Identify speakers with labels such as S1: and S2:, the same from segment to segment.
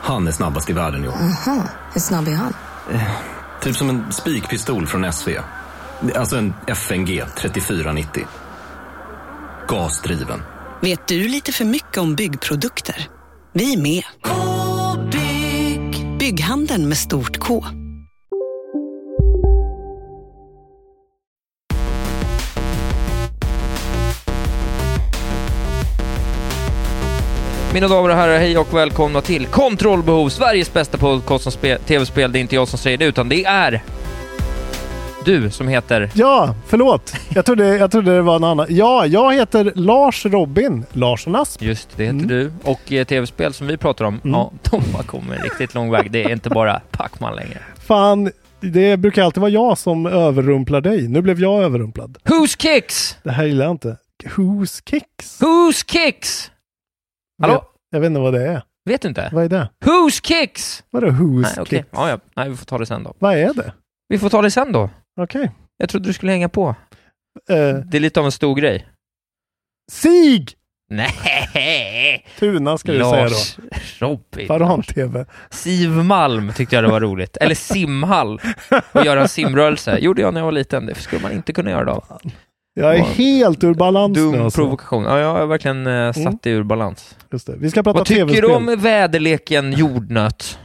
S1: han är snabbast i världen jo.
S2: Aha, hur snabb är han?
S1: Typ som en spikpistol från SV. Alltså en FNG 3490. Gasdriven.
S3: Vet du lite för mycket om byggprodukter? Vi är med. K-bygg. Bygghandeln med stort K.
S4: Mina damer och herrar, hej och välkomna till Kontrollbehov, Sveriges bästa podcast om spe- tv-spel. Det är inte jag som säger det, utan det är du som heter...
S5: Ja, förlåt. Jag trodde, jag trodde det var en annan. Ja, jag heter Lars Mm. Robin Larsson Asp.
S4: Just det, heter du. Och eh, tv-spel som vi pratar om,
S5: Mm.
S4: ja, de har kommit en riktigt lång väg. Det är inte bara Pac-Man längre.
S5: Fan, det brukar alltid vara jag som överrumplar dig. Nu blev jag överrumplad.
S4: Who's Kicks?
S5: Det här gillar jag inte. Who's Kicks?
S4: Who's Kicks? Hallå?
S5: Jag, jag vet inte vad det är.
S4: Vet du inte?
S5: Vad är det?
S4: Who's Kicks?
S5: Vadå Who's
S4: Nej, okej.
S5: Kicks?
S4: Ja, ja. Nej, vi får ta det sen då.
S5: Vad är det?
S4: Vi får ta det sen då.
S5: Okej.
S4: Jag trodde du skulle hänga på.
S5: Eh,
S4: Det är lite av en stor grej.
S5: Sig!
S4: Nej!
S5: Tuna ska du säga då.
S4: Lars Robin.
S5: Faran-TV.
S4: Siv Malm tyckte jag det var roligt. Eller simhall. Och göra en simrörelse. Gjorde jag när jag var liten. Det skulle man inte kunna göra då.
S5: Jag är
S4: Vad-
S5: helt ur balans nu
S4: Dum
S5: alltså. Mm.
S4: provokation. Ja, jag har verkligen eh, satt det ur balans.
S5: Just det. Vi ska prata
S4: Vad tycker du
S5: tv-spel.
S4: om väderleken jordnöt?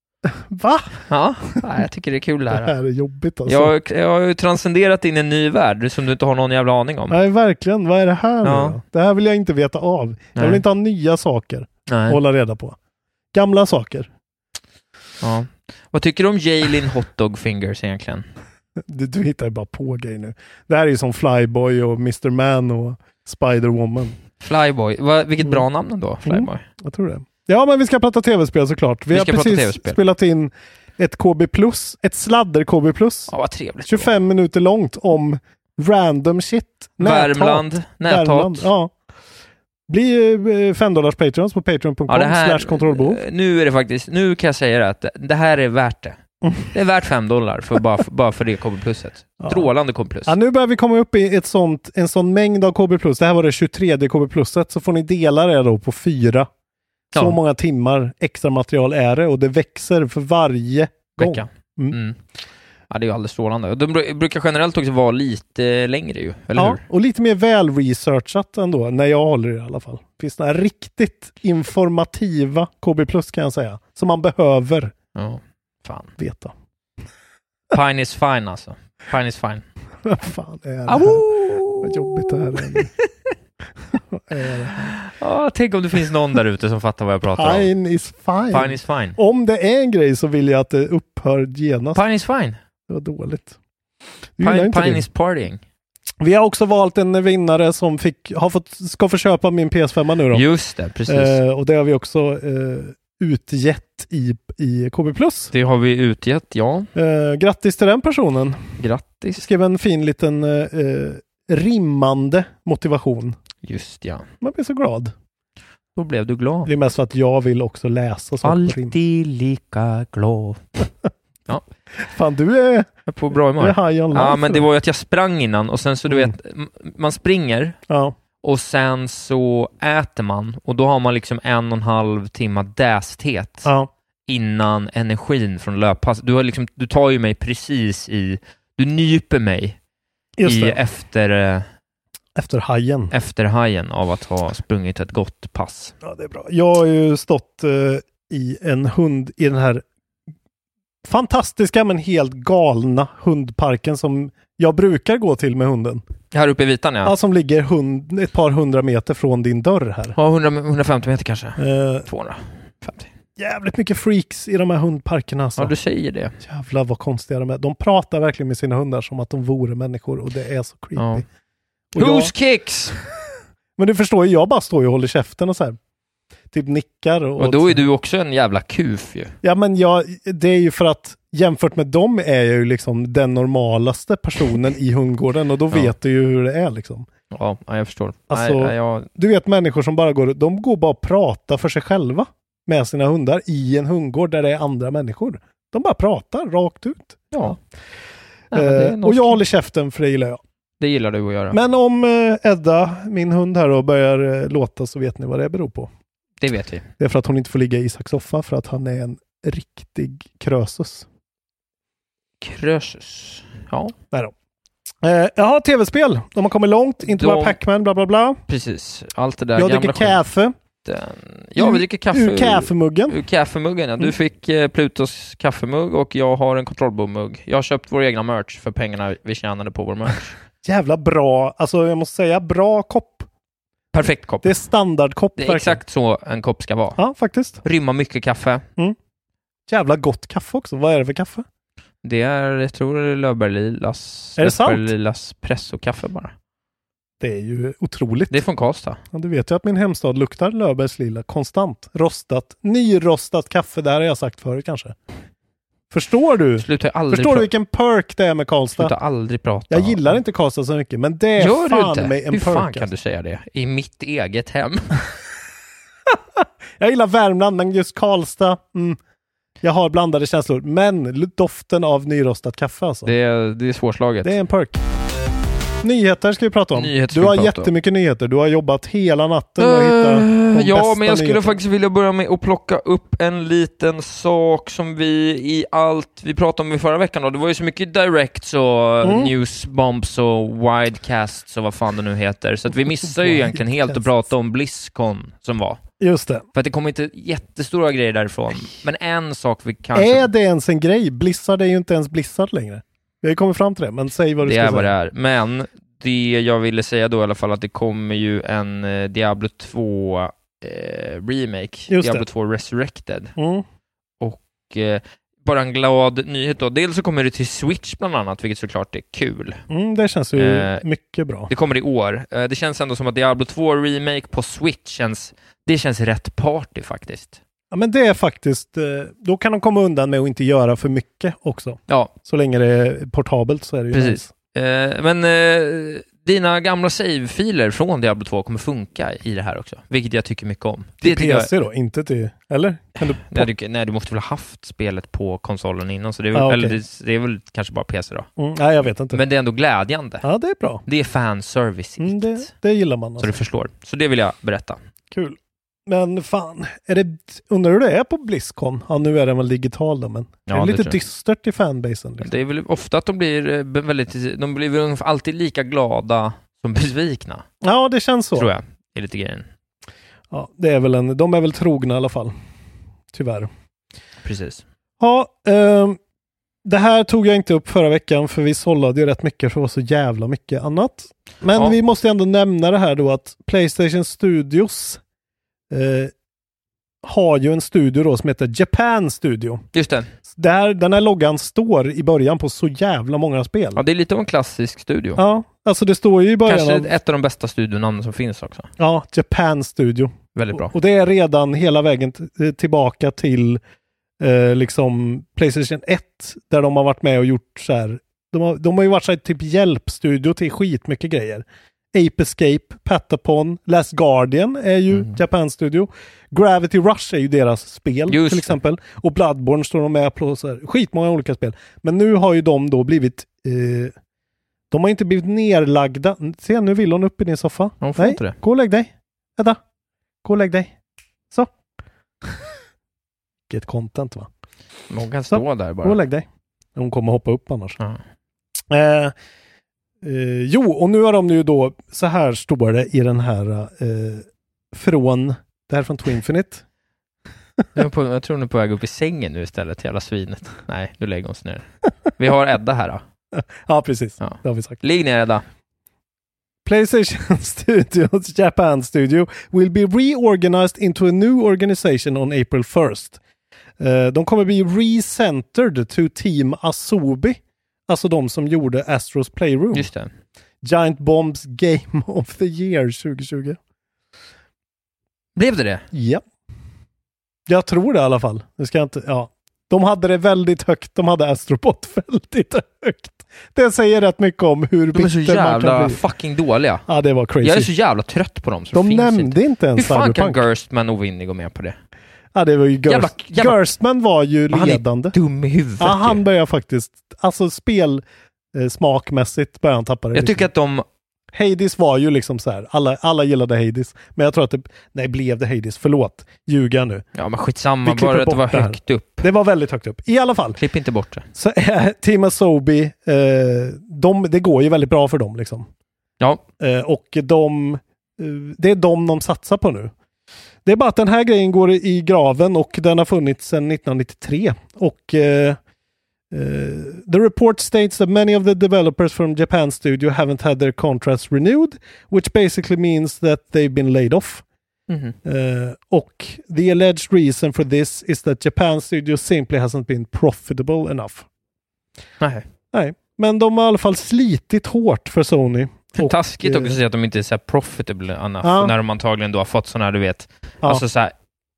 S5: Va?
S4: Ja, nej, jag tycker det är kul det
S5: Det
S4: här.
S5: här är jobbigt alltså.
S4: Jag, jag har ju transcenderat in i en ny värld som du inte har någon jävla aning om.
S5: Nej, verkligen. Vad är det här
S4: Ja.
S5: nu då? Det här vill jag inte veta av. Jag vill
S4: Nej.
S5: inte ha nya saker att
S4: Nej.
S5: hålla reda på. Gamla saker.
S4: Ja. Vad tycker du om Jailin Hotdog Fingers egentligen?
S5: Du, du hittar ju bara på grejer nu. Det här är ju som Flyboy och Mr. Man och Spider-Woman.
S4: Flyboy. Va, vilket bra namn ändå, Flyboy.
S5: Mm. Jag tror det. Ja, men vi ska prata tv-spel såklart. Vi,
S4: Vi
S5: har
S4: ska prata
S5: precis
S4: TV-spel.
S5: spelat in ett KB+, ett sladder-KB+.
S4: Ja, vad trevligt.
S5: 25 minuter långt om random shit. Näthat.
S4: Värmland,
S5: Värmland,
S4: näthat.
S5: Ja. Bli eh, 5 dollars patrons på patreon.com
S4: Ja, det här,
S5: slash kontrollbehov.
S4: eh, nu är det faktiskt, nu kan jag säga det att det- det här är värt det. Det är värt 5 dollar för, bara, för, bara för det KB pluset.
S5: Ja.
S4: Strålande KB plus.
S5: Ja, nu börjar vi komma upp i ett sånt, en sån mängd av KB+. Det här var det 23 KB+. Så får ni dela det då på fyra. Så
S4: Ja.
S5: många timmar extra material är det och det växer för varje gång.
S4: Vecka.
S5: Mm.
S4: Mm. Ja, det är ju alldeles strålande. De bru- brukar generellt också vara lite längre ju, eller
S5: Ja,
S4: hur?
S5: och lite mer välresearchat ändå, när jag håller i det i alla fall. Finns några riktigt informativa KB+, kan jag säga, som man behöver
S4: Ja. Fan.
S5: veta.
S4: Pine is fine alltså. Pine is fine.
S5: Vad fan är det här? Vad jobbigt det här är. nu. Vad är det här?
S4: Ja, tänk om det finns någon där ute som fattar vad jag pratar om.
S5: Fine is fine.
S4: Pine is fine.
S5: Om det är en grej så vill jag att det upphör genast.
S4: Pine is fine.
S5: Det var dåligt. Du gillar
S4: Pine,
S5: inte
S4: pine
S5: det.
S4: is partying.
S5: Vi har också valt en vinnare som fick, har fått, ska få köpa min PS5 nu då.
S4: Just det, precis.
S5: Eh, och det har vi också eh, utgett i, i KB+.
S4: Det har vi utgett, ja.
S5: Eh, grattis till den personen.
S4: Grattis.
S5: Skrev en fin liten eh, eh, rimmande motivation.
S4: Just ja.
S5: Man blir så glad.
S4: Då blev du glad.
S5: Det är mest för att jag vill också läsa saker på rim.
S4: Alltid lika glad.
S5: Fan, du är,
S4: Jag är på bra
S5: du är
S4: humör.
S5: high on life.
S4: Ja, men det
S5: idag.
S4: var ju att jag sprang innan och sen så du
S5: Mm.
S4: vet, m- man springer
S5: Ja,
S4: och sen så äter man och då har man liksom en och en halv timma dästhet
S5: ja.
S4: innan energin från löppass. Du, har liksom, du tar ju mig precis i, du nyper mig
S5: Just
S4: i
S5: det.
S4: efter, eh,
S5: Efter hajen.
S4: efterhajen av att ha sprungit ett gott pass.
S5: Ja, det är bra. Jag har ju stått eh, i en hund i den här fantastiska men helt galna hundparken som jag brukar gå till med hunden.
S4: Här uppe i Vitan
S5: Ja.
S4: ja.
S5: som ligger hund, ett par hundra meter från din dörr här.
S4: Ja, 100, 150 meter kanske.
S5: Eh,
S4: 250.
S5: jävligt mycket freaks i de här hundparkerna alltså.
S4: Ja, du säger det.
S5: Jävlar vad konstiga de är. De pratar verkligen med sina hundar som att de vore människor och det är så creepy.
S4: Ja.
S5: Och jag,
S4: Who's kicks?
S5: men du förstår ju, jag bara står ju och håller käften och så här. Typ nickar. Och,
S4: Och då är du också en jävla kuf ju.
S5: Ja men jag, det är ju för att jämfört med dem är jag ju liksom den normalaste personen i hundgården och då
S4: Ja.
S5: vet du ju hur det är liksom.
S4: Ja, ja, jag förstår.
S5: Alltså-
S4: nej, nej, jag,
S5: Du vet människor som bara går, de går bara och pratar för sig själva med sina hundar i en hundgård där det är andra människor. De bara pratar rakt ut.
S4: ja. Nej, men det, är
S5: eh,
S4: något-
S5: och jag håller käften för det gillar jag.
S4: det gillar du att göra.
S5: Men om eh, Edda, min hund här då, börjar eh, låta så vet ni vad det beror på.
S4: det vet vi.
S5: Det är för att hon inte får ligga i Isaks soffa för att han är en riktig krösus.
S4: Krösus. Ja,
S5: Nej då. Eh, jaha, tv-spel. De har kommit långt. Inte
S4: De-
S5: bara Pac-Man, bla bla bla.
S4: precis. Allt det där
S5: Jag dricker
S4: gamla
S5: kaffe.
S4: skiten. Ja, vi dricker kaffe.
S5: Ur kaffemuggen. Mm.
S4: Ur kaffemuggen, ja. Du fick eh, Plutos kaffemugg och jag har en kontrollbommugg. Jag har köpt vår egna merch för pengarna vi tjänade på vår merch.
S5: Jävla bra, alltså jag måste säga bra kopp.
S4: Perfekt kopp.
S5: Det är standardkopp.
S4: Det är
S5: verkligen.
S4: exakt så en kopp ska vara.
S5: Ja, faktiskt. Mm.
S4: Rymma mycket kaffe.
S5: Jävla gott kaffe också. Vad är det för kaffe?
S4: Det är, jag tror det är Löfberglilas,
S5: Är det sant?
S4: Löfberglilas pressokaffe bara.
S5: Det är ju otroligt.
S4: Det är från Karlstad.
S5: Ja, du vet ju att min hemstad luktar Löfbergs Lilla konstant. Rostat, nyrostat kaffe. Det här har jag sagt förut kanske. Förstår du?
S4: Sluta aldrig,
S5: Förstår
S4: pra-
S5: du vilken perk det är med
S4: sluta
S5: Karlstad?
S4: aldrig prata.
S5: Jag gillar inte Karlstad så mycket, men det är
S4: Gör du
S5: fan
S4: inte?
S5: mig en
S4: Hur
S5: perk.
S4: fan kan
S5: alltså.
S4: du säga det? I mitt eget hem.
S5: Jag gillar Värmland, men just Karlstad, mm, jag har blandade känslor. Men l- doften av nyrostat kaffe alltså.
S4: Det är, det är svårslaget.
S5: Det är en perk. Nyheter ska vi prata om.
S4: Nyheter ska
S5: du
S4: vi
S5: har
S4: prata om.
S5: jättemycket nyheter. Du har jobbat hela natten med att hitta de
S4: Eh, ja,
S5: bästa
S4: men jag skulle
S5: nyheterna.
S4: faktiskt vilja börja med att plocka upp en liten sak som vi i allt vi pratade om i förra veckan då. Det var ju så mycket direct och
S5: Mm.
S4: newsbombs och widecasts och vad fan det nu heter. Så att vi missar ju egentligen helt att prata om Blizzcon som var.
S5: Just det.
S4: För att det kommer inte jättestora grejer därifrån. Men en sak vi kanske...
S5: Är det ens en grej? Blizzard är ju inte ens Blizzard längre. Vi har ju kommit fram till det, men säg vad du
S4: Det
S5: ska
S4: är vad det
S5: säga.
S4: är. Men det jag ville säga då i alla fall att det kommer ju en eh, Diablo 2 eh, remake,
S5: det.
S4: Diablo 2 Resurrected.
S5: Mm.
S4: Och, eh, bara en glad nyhet då. Dels så kommer det till Switch bland annat, vilket såklart är kul.
S5: Mm, det känns ju
S4: Eh,
S5: mycket bra.
S4: Det kommer i år. Eh, det känns ändå som att Diablo 2 remake på Switch känns, det känns rätt party faktiskt.
S5: Ja, men det är faktiskt, eh, då kan de komma undan med att inte göra för mycket också.
S4: Ja,
S5: Så länge det är portabelt så är det ju
S4: Precis.
S5: nice.
S4: Eh, men eh, dina gamla save-filer från Diablo 2 kommer funka i det här också, vilket jag tycker mycket om. Det tycker jag,
S5: PC då, inte till... Eller? Kan du
S4: nej, du, nej, du måste väl ha haft spelet på konsolen innan, så det är, väl,
S5: Ja, Ah, okej.
S4: eller, det, det är väl kanske bara PC då.
S5: mm, nej, jag vet inte.
S4: Men det är ändå glädjande.
S5: Ja, det är bra.
S4: Det är fanservice
S5: Mm, det, det gillar man.
S4: så
S5: Alltså.
S4: du förstår. Så det vill jag berätta.
S5: Kul. Men fan, är det, undrar hur det är på Blizzcon? Ja, nu är den väl digital då, men
S4: Ja,
S5: är det
S4: det
S5: lite
S4: tror jag.
S5: dystert i fanbasen? Liksom?
S4: Det är väl ofta att de blir eh, be- väldigt, de blir väl ungefär alltid lika glada som besvikna,
S5: Ja, det känns så.
S4: tror jag. Är lite grejen.
S5: Ja, det är väl en, de är väl trogna i alla fall. Tyvärr.
S4: Precis.
S5: Ja, ehm, det här tog jag inte upp förra veckan för vi sållade ju rätt mycket för det var så jävla mycket annat. Men
S4: Ja.
S5: vi måste ändå nämna det här då att Playstation Studios eh, har ju en studio då som heter Japan Studio.
S4: Just det.
S5: Där den här loggan står i början på så jävla många spel.
S4: Ja, det är lite av en klassisk studio.
S5: Ja, alltså det står ju i början
S4: Kanske
S5: av
S4: ett av de bästa studionamnen som finns också.
S5: ja, Japan Studio.
S4: Väldigt bra.
S5: Och det är redan hela vägen t- tillbaka till eh, liksom Playstation 1 där de har varit med och gjort så här. De har, de har ju varit så här, typ hjälpstudio till skitmycket grejer. Ape Escape, Patapon, Last Guardian är ju
S4: Mm.
S5: Japan Studio. Gravity Rush är ju deras spel
S4: Just
S5: till
S4: det.
S5: exempel. Och Bloodborne står de med på så här, skitmånga olika spel. Men nu har ju de då blivit eh, de har inte blivit nerlagda. Se, nu vill hon upp i din soffa.
S4: Hon får inte det.
S5: gå och lägg dig. Edda, gå och lägg dig. Så. Vilket content va?
S4: Någon kan
S5: Så.
S4: stå där
S5: Gå och
S4: bara.
S5: lägg dig. Hon kommer hoppa upp annars.
S4: Ja.
S5: Eh, eh, jo, och nu har de ju då, så här står det i den här eh, från, det här är från Twinfinite.
S4: Jag, är på, jag tror hon är på väg upp i sängen nu istället, jävla svinet. Nej, nu lägger hon sig ner. Vi har Edda här då.
S5: ja, precis.
S4: Ja.
S5: Det har vi sagt.
S4: Ligg ner Edda.
S5: PlayStation Studios Japan Studio will be reorganized into a new organization on April 1st. Eh, de kommer bli recentered to Team Asobi, alltså de som gjorde Astros Playroom,
S4: Just det.
S5: Giant Bombs Game of the Year 2020.
S4: Blev det det?
S5: Ja. Jag tror det i alla fall. Det ska jag inte, ja. De hade det väldigt högt. De hade Astrobot väldigt högt. Det säger rätt mycket om hur
S4: De är så
S5: bitter man kan
S4: jävla
S5: bli.
S4: fucking dåliga.
S5: Ja, det var crazy.
S4: Jag är så jävla trött på dem så
S5: De
S4: det finns
S5: nämnde
S4: inte.
S5: inte,
S4: Hur
S5: ens
S4: fan kan
S5: Cyberpunk.
S4: Gerstman och Winnie gå med på det?
S5: Ja, det var ju Gerst.
S4: Jävla- jävla-
S5: Gerstman var ju
S4: Han är
S5: ledande.
S4: dum i huvudet
S5: Ja, han
S4: ju.
S5: börjar faktiskt, alltså spel eh, smakmässigt börjar han tappa det.
S4: Jag tycker att de...
S5: Hades var ju liksom så här, alla, alla gillade Hades. Men jag tror att det, nej blev det Hades? Förlåt, ljuga nu.
S4: Ja men
S5: Vi
S4: skitsamma,
S5: klipper
S4: bara att det
S5: bort
S4: var
S5: det här.
S4: högt upp.
S5: Det var väldigt högt upp. I alla fall,
S4: Klipp inte bort det.
S5: så är Team Asobi, eh, de, det går ju väldigt bra för dem liksom.
S4: Ja,
S5: Eh, och de, eh, det är de de satsar på nu. Det är bara att den här grejen går i graven och den har funnits sedan 1993. Och eh, eh, the report states that many of the developers from Japan studio haven't had their contracts renewed, which basically means that they've been laid off.
S4: Mm-hmm.
S5: Eh, och the alleged reason for this is that Japan studio simply hasn't been profitable enough.
S4: nej.
S5: Nej, men de har i alla fall slitit hårt för Sony. Och,
S4: Taskigt också
S5: eh,
S4: att säga att de inte är så här profitable enough,
S5: Ja.
S4: när de antagligen då har fått sån här, du vet,
S5: ja.
S4: alltså så här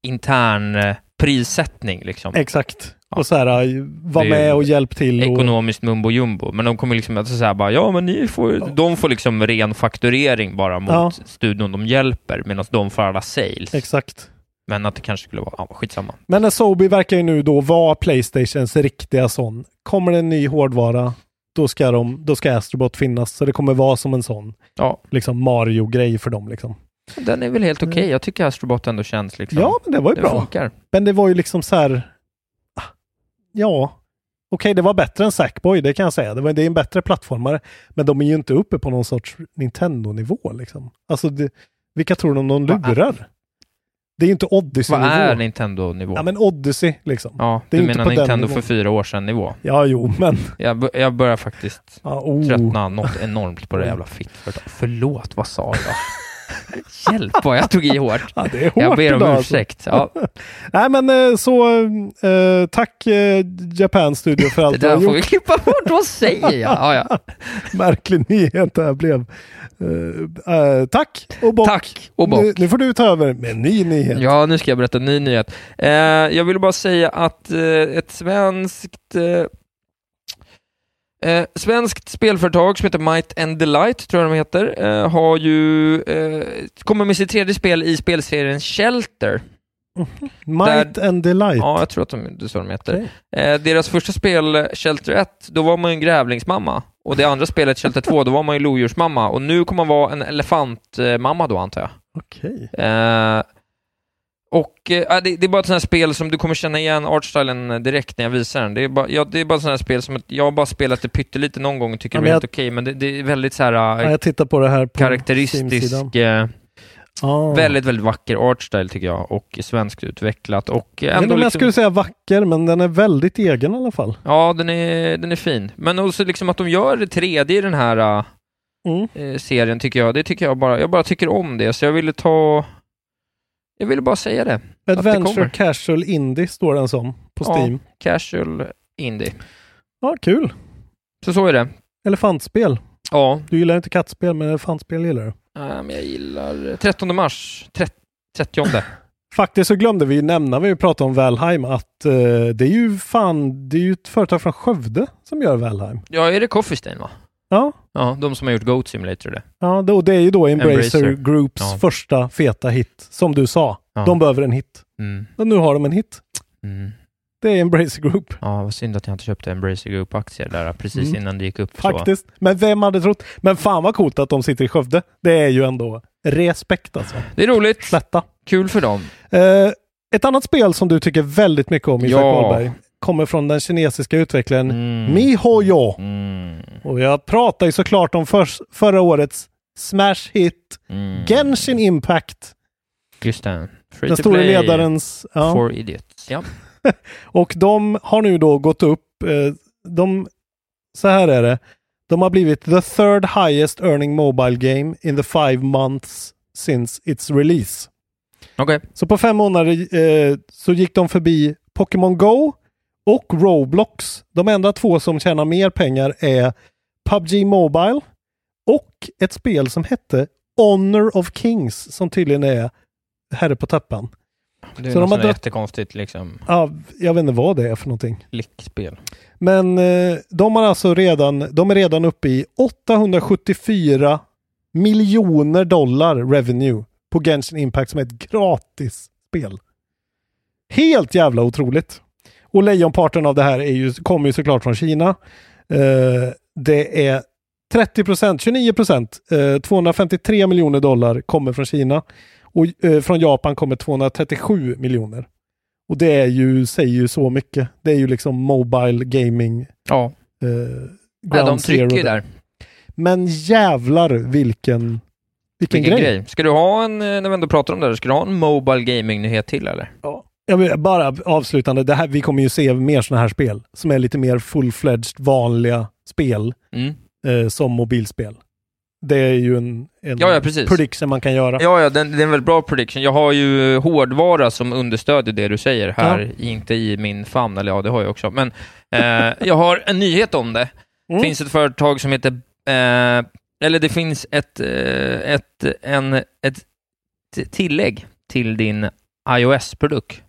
S4: intern eh, prissättning liksom.
S5: Exakt. Och så här, äh, var
S4: Det är
S5: med och hjälp till. Och,
S4: Ekonomiskt mumbo jumbo. Men de kommer liksom att säga bara, ja men ni får, de får liksom ren fakturering bara mot
S5: Ja.
S4: studion de hjälper, medan de får alla sales.
S5: Exakt.
S4: Men att det kanske skulle vara, ja skitsamma.
S5: Men Asobi verkar ju nu då vara Playstations riktiga sån. Kommer det en ny hårdvara, då ska, de, då ska Astrobot finnas. Så det kommer vara som en sån
S4: Ja,
S5: liksom Mario-grej för dem. Liksom.
S4: den är väl helt okej. Jag tycker Astrobot ändå känns liksom.
S5: Mm. Ja, men det var ju
S4: det
S5: bra.
S4: funkar.
S5: Men det var ju liksom så här... ah, Ja, okej, det var bättre än Sackboy, det kan jag säga. Det, var, det är en bättre plattformare. Men de är ju inte uppe på någon sorts Nintendo-nivå. Liksom. Alltså, det, vilka tror de de
S4: Vad är-
S5: lurar? Det är ju inte
S4: ah. Vad
S5: Odyssey-nivå.
S4: är Nintendo-nivå?
S5: Ja men Odyssey liksom. Ja,
S4: Ja,
S5: Det är
S4: du
S5: inte
S4: menar
S5: på den
S4: Nintendo
S5: nivån.
S4: för fyra år sedan nivå?
S5: jo men.
S4: Jag, bör- jag börjar faktiskt
S5: Ja, oh.
S4: tröttna något enormt på det jävla fittföretaget. Förlåt, vad sa jag? Hjälp vad jag tog i hårt.
S5: Ja, det är hårt
S4: Jag ber om
S5: idag, alltså.
S4: ursäkt. Ja,
S5: Nej men eh, så eh, tack eh, Japan Studio för
S4: det
S5: allt du
S4: där
S5: har
S4: får
S5: gjort.
S4: vi klippa bort. Vad säger jag? Ja, ja.
S5: Märklig nyhet det här blev. Eh, eh, tack och bock.
S4: Tack och bock.
S5: Nu, nu får du ta över med en ny nyhet.
S4: Ja, nu ska jag berätta en ny nyhet. Eh, jag vill bara säga att eh, ett svenskt eh, eh, svenskt spelföretag som heter Might and Delight, tror jag de heter, eh, har ju, eh, kommer med sitt tredje spel i spelserien Shelter.
S5: Mm-hmm. Might and Delight.
S4: Ja, jag tror att de, det är så de heter. Eh, deras första spel, Shelter 1, då var man ju en grävlingsmamma. Och det andra spelet, Shelter 2, då var man ju lodjursmamma. Och nu kommer man vara en elefantmamma då, antar jag.
S5: Okej.
S4: Eh, och eh, det, det är bara ett sånt här spel som du kommer känna igen artstylen eh, direkt när jag visar den. Det är bara, ja, det är bara ett sånt här spel som att jag har bara spelat det pyttelite någon gång och tycker
S5: Ja,
S4: det
S5: men
S4: är
S5: jag-
S4: helt okej, men det, det är väldigt så här
S5: Ja,
S4: eh,
S5: jag tittar på det här på Ah. Steam-sidan.
S4: karaktäristisk, eh,
S5: Ja.
S4: väldigt, väldigt vacker artstyle tycker jag och svenskt utvecklat och eh,
S5: Jag vet inte
S4: ändå
S5: om jag
S4: liksom,
S5: skulle säga vacker, men den är väldigt egen i alla fall.
S4: ja den är, den är fin. Men också liksom att de gör det tredje i den här eh,
S5: Mm.
S4: eh, serien tycker jag. Det tycker jag bara, jag bara tycker om det, så jag ville ta, jag ville bara säga det. det kommer.
S5: Adventure Casual Indie står den som på
S4: Ja.
S5: Steam.
S4: Casual Indie.
S5: Ja, kul.
S4: Så så är det.
S5: Elefantspel.
S4: Ja,
S5: Du gillar inte kattspel, men elefantspel gillar du.
S4: äh, men jag gillar... 13 mars. 30
S5: Faktiskt så glömde vi nämna, vi pratade om Valheim, att eh, det är ju fan, det är ju ett företag från Skövde som gör Valheim.
S4: Ja, är det Coffeestein va?
S5: Ja,
S4: Ja, de som har gjort Goat Simulator och det.
S5: ja det, och det är ju då Embracer,
S4: Embracer.
S5: Groups
S4: Ja.
S5: första feta hit, som du sa.
S4: Ja.
S5: De behöver en hit.
S4: Mm,
S5: Och nu har de en hit.
S4: mm.
S5: Det är Embracer Group,
S4: Ja, vad synd att jag inte köpte Embracer Group-aktier där precis
S5: Mm.
S4: innan det gick upp. Så.
S5: faktiskt. Men vem hade trott? Men fan vad coolt att de sitter i Skövde. Det är ju ändå respekt alltså.
S4: Det är roligt.
S5: Slätta.
S4: Kul för dem.
S5: Eh, ett annat spel som du tycker väldigt mycket om, Isak
S4: Ja.
S5: Wahlberg, kommer från den kinesiska utvecklaren
S4: Mm.
S5: MiHoYo.
S4: Mm.
S5: Och jag pratar ju såklart om förs- förra årets smash hit
S4: Mm.
S5: Genshin Impact.
S4: Just det. Free
S5: Den
S4: to
S5: store
S4: play
S5: ledarens... Ja.
S4: For idiots. Ja.
S5: Och de har nu då gått upp. Eh, de så här är det. De har blivit the third highest earning mobile game in the five months since its release.
S4: Okej.
S5: Så på fem månader eh, så gick de förbi Pokémon Go och Roblox. De enda två som tjänar mer pengar är PubG Mobile och ett spel som hette Honor of Kings som tydligen är herre på tappan.
S2: Det är
S5: Så de
S2: något
S5: har
S2: sånt där
S5: dött-
S2: jättekonstigt liksom,
S5: Ja, jag vet inte vad det är för någonting.
S2: lickspel.
S5: Men eh, de, har alltså redan, de är redan uppe i 874 miljoner dollar revenue på Genshin Impact som är ett gratis spel. Helt jävla otroligt. Och lejonparten av det här är ju, kommer ju såklart från Kina. Eh, det är 30 procent, 29 procent, eh, 253 miljoner dollar kommer från Kina. Och eh, från Japan kommer 237 miljoner. Och det är ju, säger ju så mycket. Det är ju liksom Mobile Gaming
S4: Ja.
S5: eh,
S4: Nej,
S5: Ground
S4: de
S5: Zero.
S4: trycker ju
S5: Där.
S4: där.
S5: Men jävlar vilken, vilken,
S4: Vilken
S5: grej.
S4: grej. Ska du ha en, eh, när vi ändå pratar om det här, ska du ha en Mobile Gaming-nyhet till eller?
S5: Jag vill, bara avslutande, det här, vi kommer ju se mer sådana här spel som är lite mer full-fledged vanliga spel
S4: Mm.
S5: eh, som mobilspel. Det är ju en, en
S4: Ja, ja, precis.
S5: prediction man kan göra.
S4: Ja, ja, den, det är en väldigt bra prediction. Jag har ju eh, hårdvara som understödjer det du säger här, inte i min famn, eller ja, det har jag också, men eh, jag har en nyhet om det.
S5: Mm.
S4: finns ett företag som heter, eh, eller det finns ett, eh, ett, en, ett t- tillägg till din iOS-produkt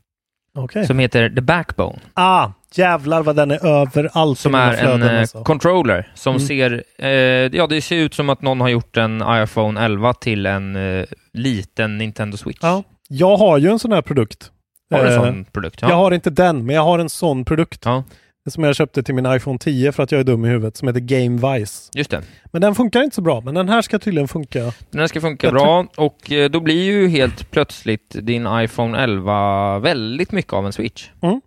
S5: Okej.
S4: som heter The Backbone,
S5: Ah, jävlar vad den är överallt. i
S4: som
S5: mina
S4: är en
S5: flöden,
S4: eh,
S5: alltså.
S4: controller som
S5: Mm.
S4: ser, eh, ja, det ser ut som att någon har gjort en iPhone 11 till en eh, liten Nintendo Switch.
S5: ja. Jag har ju en sån här produkt.
S4: Har du en
S5: Eh,
S4: sån produkt?
S5: Jag har inte den, men jag har en sån produkt.
S4: Ja.
S5: Som jag köpte till min iPhone 10 för att jag är dum i huvudet, som heter GameVice.
S4: Just det.
S5: Men den funkar inte så bra, men den här ska tydligen funka.
S4: Den här ska funka
S5: Jag
S4: bra och eh, då blir ju helt plötsligt din iPhone 11 väldigt mycket av en switch.
S5: Mm.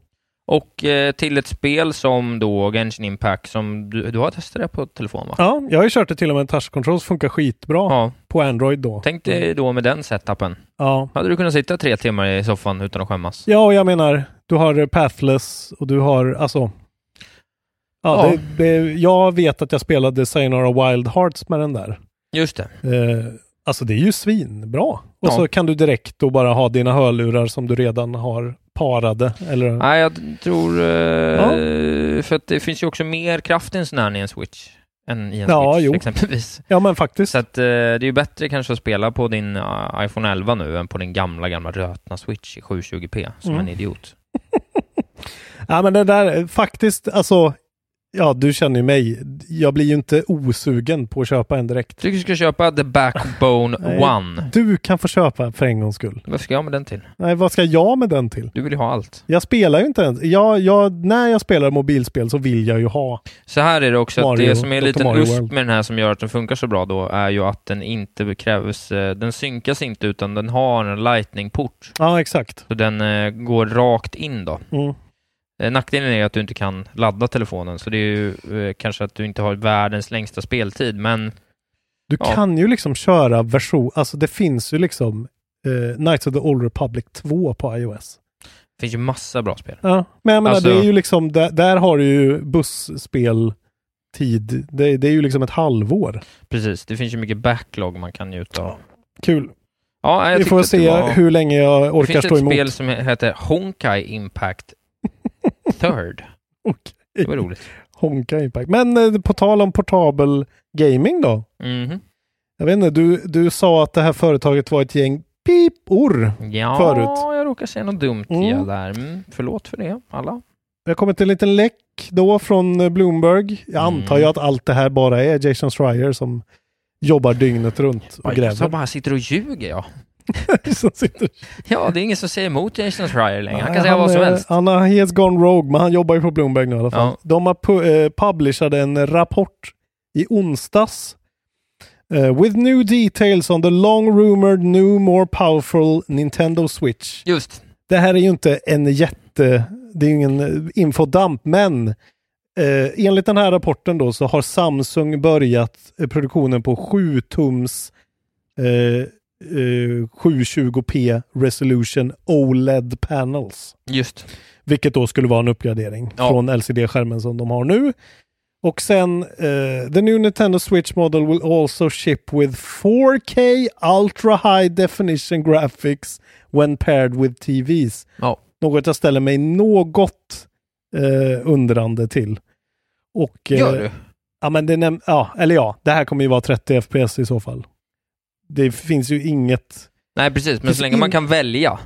S4: Och eh, till ett spel som då Genshin Impact som du, du har testat det på telefon va?
S5: Ja, jag har ju kört det till och med en touchkontroll som funkar skitbra
S4: Ja.
S5: på Android då.
S4: Tänk dig då med den setupen.
S5: Ja.
S4: Hade du kunnat sitta tre timmar i soffan utan att skämmas?
S5: ja, och jag menar, du har Pathless och du har, alltså... Ja,
S4: Ja.
S5: Det, det, jag vet att jag spelade Sayonara Wild Hearts med den där.
S4: Just det.
S5: Eh, alltså det är ju svinbra. Och
S4: Ja.
S5: så kan du direkt då bara ha dina hörlurar som du redan har parade. Eller,
S4: Nej, jag tror... Eh, För att det finns ju också mer kraft i en sån här än i en switch. Än i en
S5: Ja,
S4: switch
S5: jo.
S4: exempelvis.
S5: ja, men faktiskt.
S4: Så att, eh, det är ju bättre kanske att spela på din eh, iPhone 11 nu än på din gamla, gamla rötna Switch i 720p som
S5: Mm.
S4: en idiot.
S5: Ja men det där, eh, faktiskt alltså, ja du känner ju mig. Jag blir ju inte osugen på att köpa en direkt.
S4: Tycker du ska köpa The Backbone
S5: Nej.
S4: One.
S5: Du kan få köpa för en gångs skull.
S4: Vad ska jag med den till?
S5: Nej, vad ska jag med den till?
S4: Du vill ju ha allt.
S5: Jag spelar ju inte ens. Jag, jag, när jag spelar mobilspel så vill jag ju ha.
S4: Så här är det också,
S5: Mario,
S4: att det som är en
S5: Dr.
S4: liten
S5: Mario
S4: USP
S5: World.
S4: med den här som gör att den funkar så bra då, är ju att den inte krävs, eh, den synkas inte utan den har en lightning-port.
S5: Ja, exakt.
S4: Så den eh, går rakt in då.
S5: Mm.
S4: Eh, Nackdelen är att du inte kan ladda telefonen, så det är ju eh, kanske att du inte har världens längsta speltid, men
S5: Du
S4: Ja.
S5: kan ju liksom köra version, alltså det finns ju liksom eh, Knights of the Old Republic 2 på iOS.
S4: det finns ju massa bra spel.
S5: Ja, men jag menar
S4: Alltså-
S5: det är ju liksom, där, där har du ju busspeltid. Det, det är ju liksom ett halvår.
S4: Precis, det finns ju mycket backlog man kan njuta av.
S5: Kul.
S4: Ja, jag
S5: Vi
S4: tyckte
S5: får
S4: att det
S5: se
S4: var-
S5: hur länge jag
S4: Det
S5: orkar
S4: finns
S5: stå
S4: ett
S5: emot.
S4: spel som heter Honkai Impact Third. Det var
S5: Okej.
S4: roligt.
S5: Honka Impact. Men eh, på tal om portabel gaming då.
S4: Mhm.
S5: Jag vet inte, du, du sa att det här företaget var ett gäng pipor.
S4: Ja,
S5: Förut.
S4: jag råkar säga något dumt
S5: Mm.
S4: ja, där. Mm, förlåt för det, alla.
S5: Det har kommit en liten läck då från eh, Bloomberg. Jag antar ju
S4: Mm.
S5: att allt det här bara är Jason Schreier som jobbar dygnet runt och
S4: Som
S5: gräver.
S4: bara sitter och ljuger, ja.
S5: Som sitter-
S4: Ja, det är ingen som säger emot Jason Schreier längre. Han
S5: Nej,
S4: kan säga vad som
S5: är-
S4: helst.
S5: Han har, he has gone rogue, men han jobbar ju på Bloomberg nu i alla fall.
S4: Ja.
S5: De har pu- eh, publicerat en rapport i onsdags. Eh, with new details on the long rumored new more powerful Nintendo Switch.
S4: Just.
S5: Det här är ju inte en jätte... Det är ju ingen eh, infodump, men eh, enligt den här rapporten då så har Samsung börjat eh, produktionen på 7-tums eh, eh, 720p resolution OLED panels.
S4: Just.
S5: Vilket då skulle vara en uppgradering
S4: Ja.
S5: från LCD-skärmen som de har nu. Och sen, eh, the new Nintendo Switch model will also ship with 4K ultra high definition graphics when paired with TVs.
S2: Ja.
S5: Något jag ställer mig något eh, undrande till. Och, eh,
S2: Gör du?
S5: Ja, men det näm- ja, eller ja, det här kommer ju vara 30 FPS i så fall. Det finns ju inget
S2: Nej, precis. Men
S5: Finns
S2: så länge man
S5: in-
S2: kan välja.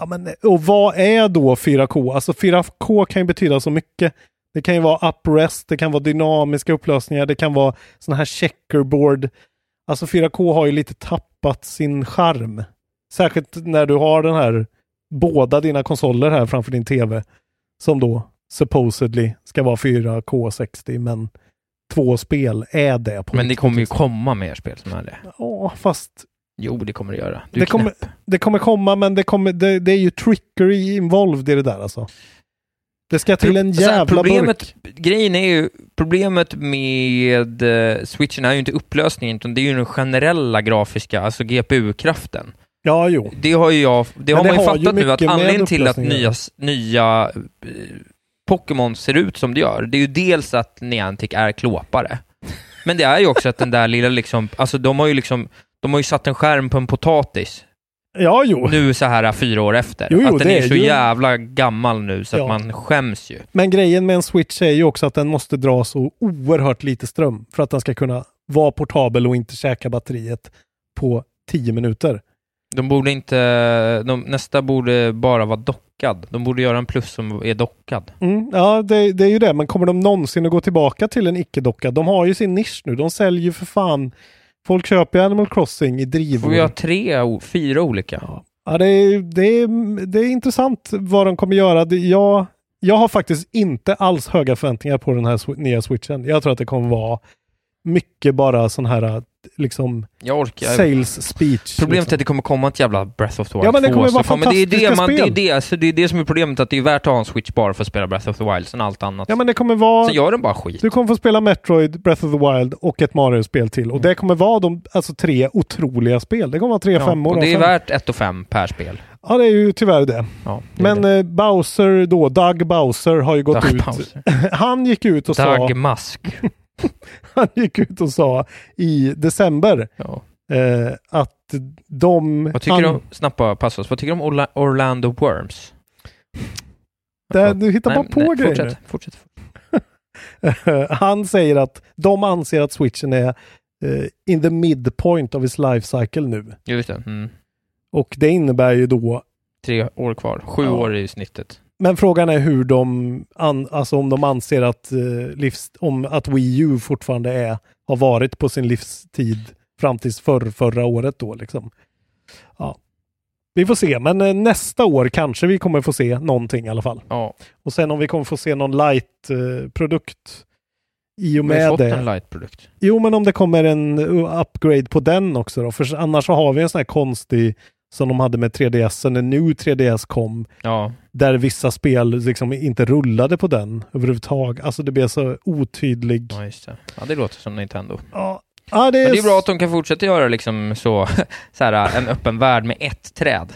S5: Ja, men, och vad är då 4K? Alltså 4K kan ju betyda så mycket. Det kan ju vara uprest, det kan vara dynamiska upplösningar, det kan vara sådana här checkerboard. Alltså 4K har ju lite tappat sin charm. Särskilt när du har den här, båda dina konsoler här framför din TV. Som då supposedly ska vara 4K60, men två spel är det.
S2: Men
S5: På
S2: det
S5: riktigt,
S2: kommer ju
S5: liksom.
S2: komma mer spel som är det.
S5: Ja, fast
S2: Jo, det kommer det göra. Du
S5: Det
S2: det
S5: kommer-
S2: kommer...
S5: det kommer komma, men det, kommer, det, det är ju trickery involved i det där alltså. Det ska till en
S2: Så här,
S5: jävla burk.
S2: alltså, problemet, Grejen är ju, problemet med eh, switchen är ju inte upplösningen, utan det är ju den generella grafiska, alltså GPU-kraften.
S5: Ja, jo.
S2: Det har ju jag, det har
S5: det
S2: man ju
S5: har ju
S2: fattat nu, att
S5: mycket med
S2: anledningen till att
S5: upplösningen.
S2: nya, s- nya eh, Pokémon ser ut som det gör, det är ju dels att Niantic är klåpare. Men det är ju också att den där lilla liksom, alltså de har ju liksom, de har ju satt en skärm på en potatis
S5: Ja, jo.
S2: nu så här äh, fyra år efter.
S5: Jo, jo,
S2: att den
S5: det
S2: är,
S5: är
S2: så
S5: ju-
S2: jävla gammal nu så
S5: Ja.
S2: att man skäms ju.
S5: Men grejen med en switch är ju också att den måste dra så oerhört lite ström för att den ska kunna vara portabel och inte käka batteriet på 10 minuter.
S2: De borde inte, de, nästa borde bara vara dockad. De borde göra en plus som är dockad.
S5: Mm, ja, det, det är ju det. Men kommer de någonsin att gå tillbaka till en icke-docka? De har ju sin nisch nu. De säljer ju för fan. Folk köper ju Animal Crossing i drivor.
S2: Får vi ha tre, o- fyra olika?
S5: Ja, ja det, är, det, är, det är intressant vad de kommer göra. Det- Jag, jag har faktiskt inte alls höga förväntningar på den här swi- nya switchen. Jag tror att det kommer vara mycket bara sån här liksom
S2: Jag orkar.
S5: sales speech.
S2: Problemet är
S5: liksom.
S2: att det kommer komma ett jävla Breath of the Wild
S5: Ja, men det
S2: 2
S5: kommer vara
S2: som kommer. Det är
S5: fantastiska
S2: det, man, det, är
S5: spel.
S2: det, alltså det är det som är problemet, att det är värt att ha en switch bara för att spela Breath of the Wild, sen allt annat.
S5: Ja men det kommer vara...
S2: Sen gör den bara skit.
S5: Du kommer få spela Metroid, Breath of the Wild och ett Mario-spel till. Och det kommer vara de, alltså tre otroliga spel. Det kommer vara tre
S2: Mm. Ja,
S5: femmor.
S2: och det är
S5: fem-
S2: värt 1 och 5 per spel.
S5: Ja, det är ju tyvärr det.
S2: Ja, det är
S5: Men
S2: det.
S5: eh, Bowser då, Doug Bowser har ju gått
S2: Dag
S5: ut.
S2: Bowser.
S5: Han gick ut och sa...
S2: Dag Mask.
S5: han gick ut och sa i december
S2: Ja.
S5: eh, att de...
S2: Vad tycker
S5: han,
S2: du om, snabbt bara passa oss, vad tycker du om Orla- Orlando Worms? Alltså,
S5: Där, du hittar bara på grejer.
S2: Fortsätt, fortsätt.
S5: nu. han säger att de anser att switchen är eh, in the midpoint of its life cycle nu.
S2: Ja, Just det. Mm.
S5: Och det innebär ju då...
S2: Tre år kvar. Sju
S5: Ja.
S2: år är ju snittet.
S5: Men frågan är hur de... An, alltså om de anser att, eh, livs, om att Wii U fortfarande är, har varit på sin livstid fram tills förr, förra året då liksom. Ja. Vi får se, men eh, nästa år kanske vi kommer få se någonting i alla fall.
S2: Ja.
S5: Och sen om vi kommer få se någon light-produkt i och
S2: Vi har
S5: med
S2: fått en
S5: det.
S2: light-produkt.
S5: Jo, men om det kommer en uh, upgrade på den också då. För annars så har vi en sån här konstig som de hade med 3DS, när nu 3DS kom,
S2: Ja.
S5: där vissa spel liksom inte rullade på den överhuvudtaget. Alltså det blev så otydlig.
S2: ja, just det. Ja, det låter som Nintendo.
S5: Ja, ja det, är
S2: Men det är
S5: s-
S2: bra att de kan fortsätta göra liksom så, så här, en öppen värld med ett träd.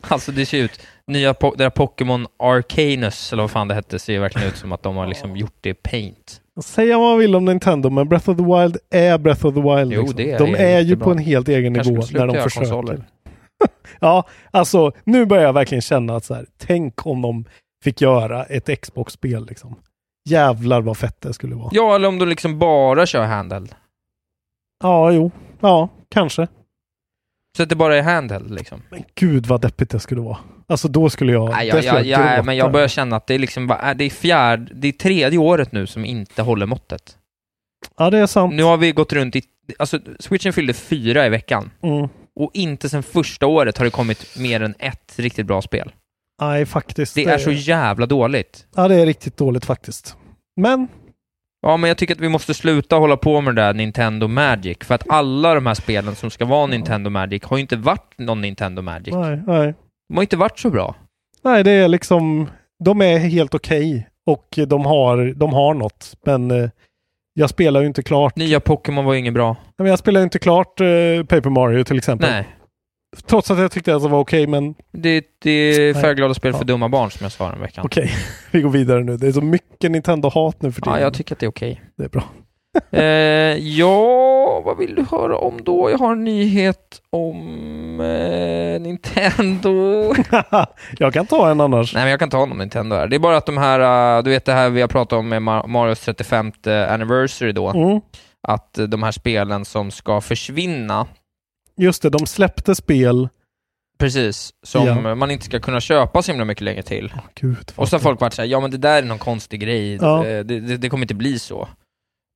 S2: Alltså det ser ut, nya po- det där Pokémon Arcanus, eller vad fan det hette, ser ju verkligen ut som att de har liksom gjort det i paint.
S5: Säga vad man vill om Nintendo, men Breath of the Wild är Breath of the Wild.
S2: Jo,
S5: liksom.
S2: det är
S5: de
S2: det.
S5: är ju
S2: Jättebra.
S5: på en helt egen
S2: Kanske
S5: nivå
S2: skulle sluta
S5: när de
S2: göra
S5: försöker.
S2: konsoler.
S5: ja, alltså nu börjar jag verkligen känna att så här, tänk om de fick göra ett Xbox-spel liksom. Jävlar vad fett det skulle vara.
S2: Ja, eller om de liksom bara kör handheld.
S5: Ja, jo. Ja, kanske.
S2: Så att det bara är handheld liksom.
S5: Men gud vad deppigt det skulle vara. Alltså då skulle jag...
S2: Nej,
S5: där
S2: jag,
S5: skulle
S2: jag, jag,
S5: gråta.
S2: men jag börjar känna att det är liksom, bara- det är fjärde, det är tredje året nu som inte håller måttet.
S5: Ja, det är sant.
S2: Nu har vi gått runt i... Alltså, switchen fyllde fyra i veckan.
S5: Mm.
S2: Och inte sedan första året har det kommit mer än ett riktigt bra spel.
S5: Nej, faktiskt.
S2: Det är så jävla dåligt.
S5: Ja, det är riktigt dåligt faktiskt. Men,
S2: Ja, men jag tycker att vi måste sluta hålla på med det där Nintendo Magic. För att alla de här spelen som ska vara Nintendo Magic har ju inte varit någon Nintendo Magic.
S5: nej, nej.
S2: De har inte varit så bra.
S5: Nej, det är liksom... De är helt okej och de har, de har något. Men eh, jag spelar ju inte klart.
S2: Nya Pokémon var ju inget bra.
S5: Nej, men jag spelar ju inte klart eh, Paper Mario till exempel.
S2: Nej.
S5: Trots att jag tyckte att det var okej, men
S2: Det, det är
S5: Nej.
S2: färgglada spel för
S5: Ja.
S2: dumma barn som jag sa den veckan.
S5: okej. Vi går vidare nu. Det är så mycket Nintendo-hat nu för tiden.
S2: Ja, jag tycker att det är okej.
S5: det är bra.
S2: eh, ja, vad vill du höra om då? Jag har en nyhet om eh, Nintendo.
S5: jag kan ta en annars.
S2: Nej, men jag kan ta honom Nintendo här. Det är bara att de här, eh, du vet det här vi har pratat om med Mar- Marios 35 anniversary då,
S5: Mm.
S2: att eh, de här spelen som ska försvinna,
S5: Just det, de släppte spel.
S2: precis, som
S5: Ja.
S2: man inte ska kunna köpa så himla mycket längre till.
S5: Åh, Gud,
S2: Och så har folk varit såhär, ja men det där är någon konstig grej,
S5: Ja.
S2: Eh, det, det, det kommer inte bli så.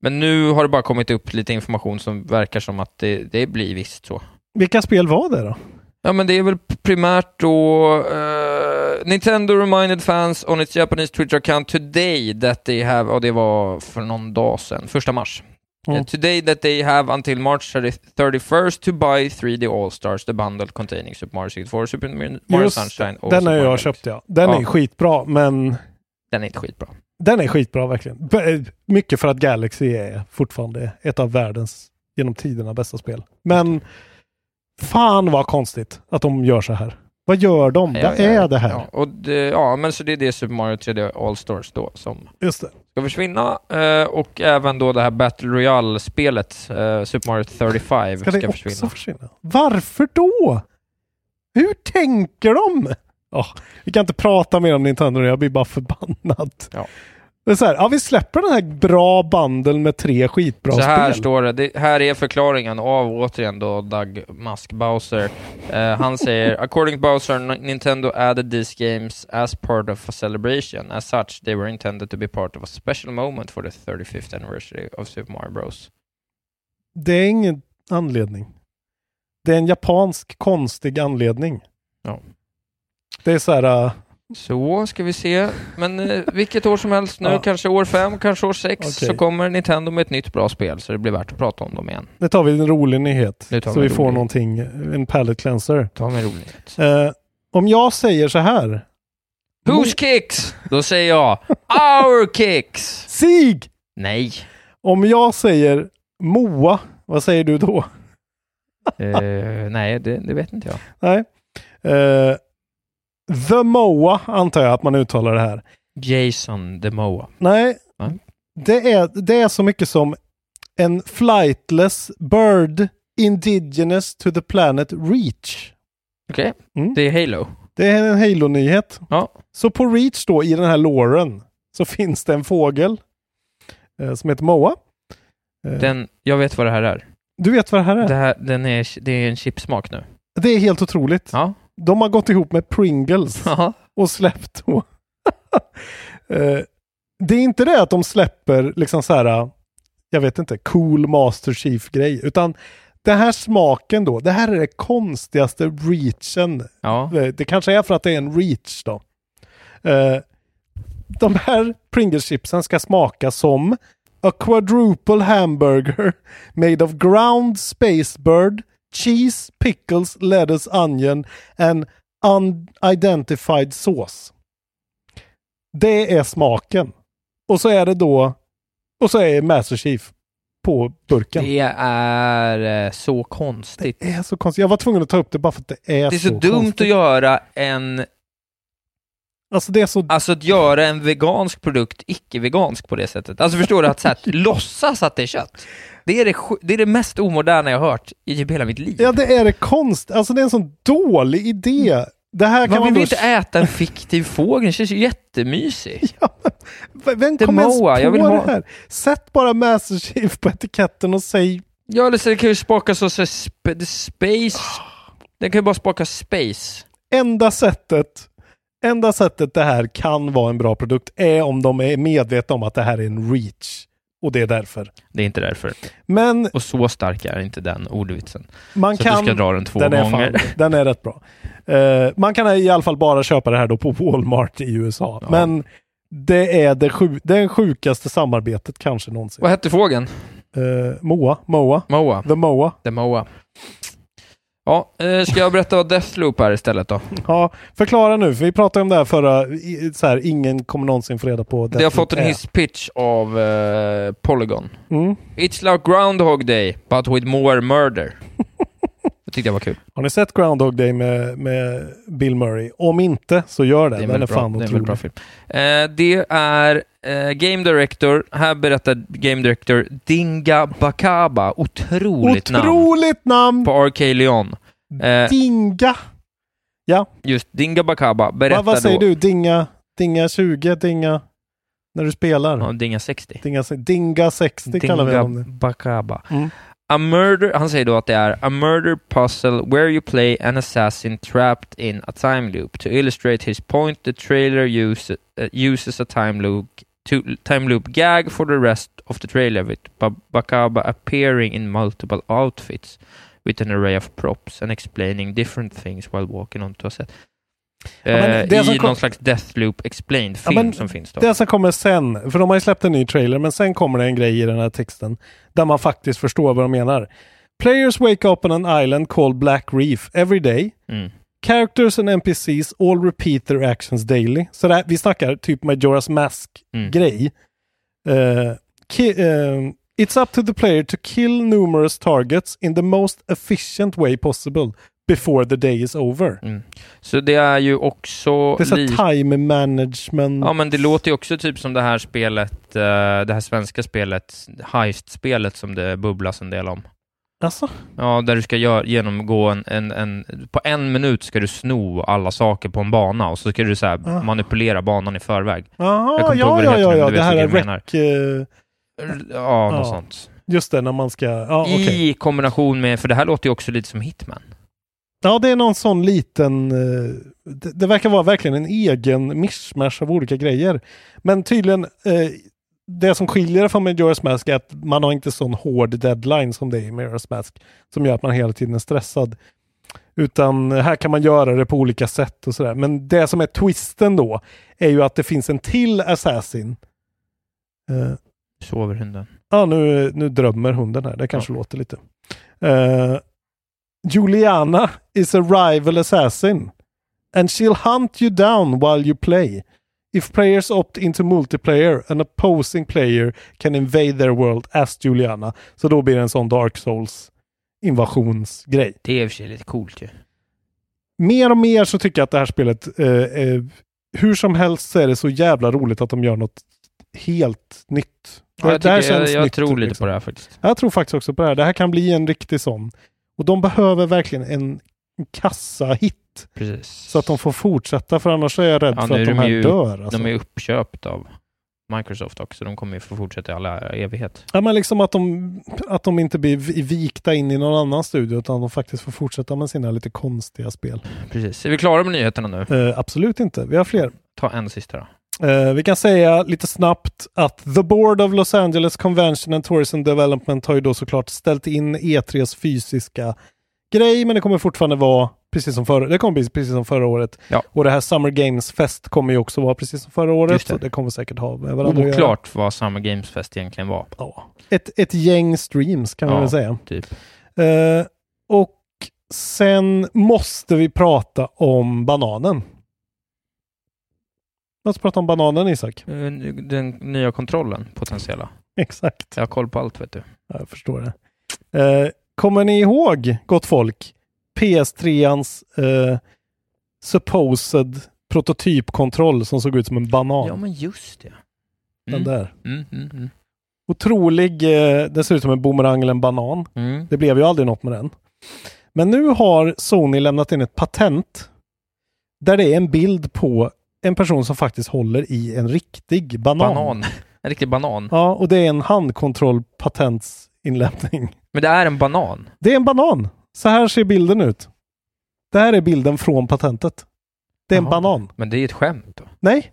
S2: Men nu har det bara kommit upp lite information som verkar som att det, det blir visst så.
S5: Vilka spel var det då?
S2: Ja men det är väl primärt då eh, Nintendo reminded fans on its Japanese Twitter account today that they have, och det var för någon dag sedan, första mars.
S5: Mm.
S2: Eh, Today that they have until March 30 31st to buy 3D All-Stars, the bundle containing Super Mario 64, Super Mario
S5: Just
S2: Sunshine och
S5: Den
S2: Super Mario
S5: har jag
S2: Galaxy.
S5: köpt ja. Den
S2: Ja.
S5: är skitbra, men
S2: Den är inte skitbra.
S5: den är skitbra verkligen. B- eh, Mycket för att Galaxy är fortfarande ett av världens genom tiderna bästa spel. Men fan vad konstigt att de gör så här. Vad gör de?
S2: Ja,
S5: Vad
S2: ja,
S5: är det här?
S2: Ja, och det, ja, men så det är det Super Mario 3D All-Stars då som
S5: Just det.
S2: ska försvinna. Eh, och även då det här Battle Royale-spelet, eh, Super Mario 35,
S5: Ska
S2: ska,
S5: det också
S2: försvinna.
S5: försvinna? Varför då? Hur tänker de? Ja, vi kan inte prata mer om Nintendo nu, jag blir bara förbannad.
S2: Ja.
S5: Det är så här, ja, vi släpper den här bra bandeln med tre skitbra
S2: Så här
S5: spel.
S2: står det. det. Här är förklaringen av återigen då Doug Musk Bowser. Eh, han säger “According to Bowser, N- Nintendo added these games as part of a celebration. As such, they were intended to be part of a special moment for the 35th anniversary of Super Mario Bros.”
S5: Det är ingen anledning. Det är en japansk konstig anledning.
S2: Ja.
S5: Det är så här, äh,
S2: Så ska vi se. Men eh, vilket år som helst nu,
S5: Ja.
S2: kanske år fem, kanske år sex,
S5: Okej.
S2: så kommer Nintendo med ett nytt bra spel, så det blir värt att prata om dem igen.
S5: nu tar vi en rolig nyhet.
S2: Nu tar
S5: Så
S2: vi
S5: vi
S2: en
S5: får
S2: rolig.
S5: någonting, en palette cleanser.
S2: Ta med roligt.
S5: Eh, om jag säger så här.
S2: Whose kicks? Då säger jag Our kicks!
S5: Sig!
S2: Nej.
S5: Om jag säger Moa, vad säger du då?
S2: Eh, nej, det, det vet inte jag.
S5: Nej. Eh, the Moa antar jag att man uttalar det här.
S2: Jason Demoa.
S5: Nej.
S2: Nej.
S5: Det, är, det är så mycket som en flightless bird indigenous to the planet reach.
S2: Okej,
S5: Mm.
S2: det är Halo.
S5: Det är en Halo-nyhet.
S2: Ja.
S5: Så på Reach då, i den här låren, så finns det en fågel eh, som heter Moa. Eh,
S2: Den, jag vet vad det här är.
S5: Du vet vad det här är?
S2: Det,
S5: Det,
S2: här den är, det är en chipsmak nu.
S5: är helt otroligt.
S2: Ja.
S5: De har gått ihop med Pringles.
S2: Jaha.
S5: och släppt då. Eh, det är inte det att de släpper liksom så här, jag vet inte, cool Master Chief-grej, utan den här smaken då, det här är det konstigaste reachen.
S2: Ja.
S5: Eh, Det kanske är för att det är en reach då. Eh, de här Pringles-chipsen ska smaka som A quadruple hamburger made of ground space bird, cheese, pickles, lettuce, onion and unidentified sauce. Det är smaken. Och så är det då, och så är Master Chief på burken. Det
S2: Det är eh, så konstigt.
S5: är, så konstigt. Jag var tvungen att ta upp det bara för att det är,
S2: Det är så, dumt
S5: konstigt.
S2: att göra en,
S5: Alltså det är så...
S2: alltså att göra en vegansk produkt icke-vegansk på det sättet. Alltså förstår du, att så här, låtsas att det är kött. Det är det, sj- det är det mest omoderna jag har hört i typ hela mitt liv.
S5: Ja, det är det konst. Alltså det är en sån dålig idé. Det här kan
S2: man vill
S5: man
S2: ju
S5: då...
S2: inte äta en fiktiv fågel, den känns ju jättemysig.
S5: V- Vem
S2: The
S5: kom ens på
S2: Moa, jag vill ha-
S5: det här? Sätt bara Master Chief på etiketten och säg...
S2: Ja, eller så det kan ju smaka så, så sp- space. Den kan ju bara smaka space.
S5: Ah. Enda sättet, enda sättet det här kan vara en bra produkt är om de är medvetna om att det här är en reach. Och det är därför.
S2: Det är inte därför.
S5: Men
S2: Och så stark är inte den ordvitsen.
S5: man
S2: Så
S5: kan...
S2: att du ska dra den två
S5: den är,
S2: gånger.
S5: fan, den är rätt bra. Eh, man kan i alla fall bara köpa det här då på Walmart i USA.
S2: Ja.
S5: Men det är det, sju, det sjukaste samarbetet kanske någonsin.
S2: Vad hette fågeln?
S5: Eh, Moa, Moa,
S2: Moa?
S5: The Moa.
S2: The Moa. Ja, eh, ska jag berätta vad Deathloop är istället då?
S5: Ja, förklara nu, för vi pratade om det här förra, i- så här, ingen kommer någonsin få reda på
S2: Det har fått en
S5: är.
S2: hisspitch av eh, Polygon.
S5: Mm.
S2: It's like Groundhog Day, but with more murder. Det tyckte jag var kul.
S5: Har ni sett Groundhog Day med, med Bill Murray? Om inte, så gör det.
S2: Det är,
S5: Den är
S2: väldigt bra.
S5: fan
S2: det är en väldigt
S5: otrolig.
S2: bra film. Eh, det är eh, Game Director, här berättar Game Director Dinga Bakaba, otroligt, namn,
S5: Otroligt namn!
S2: på RK Leon. Eh,
S5: Dinga!
S2: just Dinga Bakaba berättar
S5: Va, vad säger
S2: då...
S5: du? Dinga, dinga 20, dinga... När du spelar?
S2: Ja, Dinga 60.
S5: Dinga, se- dinga 60 kallar vi
S2: Dinga
S5: honom nu.
S2: Bakaba.
S5: Mm.
S2: A murder, han säger då att det är a murder puzzle where you play an assassin trapped in a time loop. To illustrate his point, the trailer use, uh, uses a time loop to, time loop gag for the rest of the trailer with ba- Bakaba appearing in multiple outfits with an array of props and explaining different things while walking onto a set.
S5: men
S2: Eh,
S5: det som
S2: I
S5: kom-
S2: någon slags Deathloop Explained-film
S5: Ja, men
S2: som finns då.
S5: Det som kommer sen, för de har ju släppt en ny trailer, men sen kommer det en grej i den här texten där man faktiskt förstår vad de menar. Players wake up on an island called Black Reef every day.
S2: Mm.
S5: Characters and NPCs all repeat their actions daily. Så det här, vi snackar typ Majora's
S2: Mm.
S5: Mask-grej. Eh, ki- eh, it's up to the player to kill numerous targets in the most efficient way possible before the day is over.
S2: Mm. Så det är ju också...
S5: Det är så
S2: lite-
S5: här time management.
S2: Ja, men det låter ju också typ som det här spelet, eh, det här svenska spelet, Heist-spelet som det bubblas en del om.
S5: Alltså,
S2: Ja, där du ska gör, genomgå en, en, en... På en minut ska du sno alla saker på en bana och så ska du så här
S5: Ah.
S2: manipulera banan i förväg. Jag
S5: Jaha,
S2: kommer inte ihåg
S5: ja,
S2: vad det heter,
S5: ja, ja,
S2: men
S5: ja.
S2: du
S5: Det
S2: vet
S5: här är
S2: vilken jag
S5: rec... eh,
S2: Ja, något
S5: Ja.
S2: sånt.
S5: Just det, när man ska... Ja, okej.
S2: I kombination med, för det här låter ju också lite som Hitman.
S5: Ja, det är någon sån liten... eh, det, det verkar vara verkligen en egen mischmasch av olika grejer. Men tydligen, eh, det som skiljer det från Majora's Mask är att man har inte sån hård deadline som det är i Majora's Mask. Som gör att man hela tiden är stressad. Utan här kan man göra det på olika sätt och sådär. Men det som är twisten då är ju att det finns en till Assassin. Eh,
S2: Sover hunden.
S5: Ja, nu, nu drömmer hunden här. Det kanske låter lite. Eh, Juliana is a rival assassin. And she'll hunt you down while you play. If players opt into multiplayer, an opposing player can invade their world as Juliana. Så då blir det en sån Dark Souls invasionsgrej.
S2: Det är i och för sig lite coolt ju.
S5: Mer och mer så tycker jag att det här spelet, eh, eh, hur som helst så är det så jävla roligt att de gör något helt nytt.
S2: Ja, jag,
S5: Det här
S2: tycker, jag,
S5: känns
S2: jag
S5: nytt,
S2: tror lite
S5: liksom.
S2: på det här faktiskt.
S5: Jag tror faktiskt också på det här. Det här kan bli en riktig sån. Och de behöver verkligen en en kassahit
S2: Precis.
S5: så att de får fortsätta för annars är jag rädd
S2: Ja,
S5: för
S2: nu
S5: att
S2: är
S5: de
S2: de
S5: här
S2: ju-
S5: dör. Alltså.
S2: De är uppköpt av Microsoft också, de kommer ju få fortsätta i alla evighet.
S5: Ja, men liksom att de, att de inte blir vi- vikta in i någon annan studio utan de faktiskt får fortsätta med sina lite konstiga spel.
S2: Precis. Är vi klara med nyheterna nu?
S5: Eh, absolut inte. Vi har fler.
S2: Ta en sista då.
S5: Eh, vi kan säga lite snabbt att The Board of Los Angeles Convention and Tourism Development har ju då såklart ställt in E3s fysiska grej, men det kommer fortfarande vara precis som förra, det kommer bli precis som förra året.
S2: Ja.
S5: Och det här Summer Games Fest kommer ju också vara precis som förra året.
S2: Just det.
S5: Det. Så det kommer säkert ha med varandra att göra.
S2: Oklart vad Summer Games Fest egentligen var.
S5: Ja. Ett, ett gäng streams kan man
S2: Ja.
S5: väl säga.
S2: Typ.
S5: Eh, och sen måste vi prata om bananen. Låt oss prata om bananen Isak.
S2: Eh, Den nya kontrollen, potentiella.
S5: Exakt.
S2: Jag har koll på allt vet du.
S5: Ja, Jag förstår det. Eh, kommer ni ihåg, gott folk, PS3ans eh, supposed prototypkontroll som såg ut som en banan?
S2: Ja, men just det.
S5: Den där.
S2: Mm, mm, mm.
S5: Otrolig, eh, den ser ut som en boomerang eller en banan.
S2: Mm.
S5: Det blev ju aldrig något med den. Men nu har Sony lämnat in ett patent där det är en bild på en person som faktiskt håller i en riktig banan.
S2: Banan. En riktig banan.
S5: Ja, och det är en handkontrollpatentsinlämning.
S2: Men det är en banan.
S5: Det är en banan. Så här ser bilden ut. Det här är bilden från patentet. Det är en
S2: Jaha.
S5: banan.
S2: Men det är ett skämt då.
S5: Nej.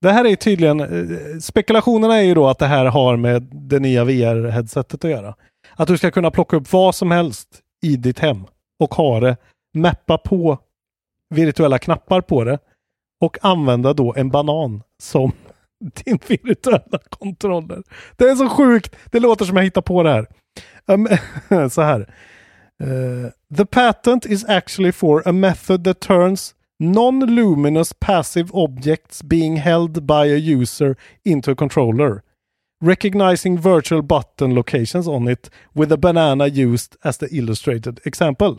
S5: Det här är tydligen... eh, Spekulationerna är ju då att det här har med det nya VR-headsetet att göra. Att du ska kunna plocka upp vad som helst i ditt hem och ha det, mappa på virtuella knappar på det och använda då en banan som din virtuella kontroller. Det är så sjukt! Det låter som jag hittar på det här. Um, så här. Eh, the patent is actually for a method that turns non-luminous passive objects being held by a user into a controller. recognizing virtual button locations on it with a banana used as the illustrated example.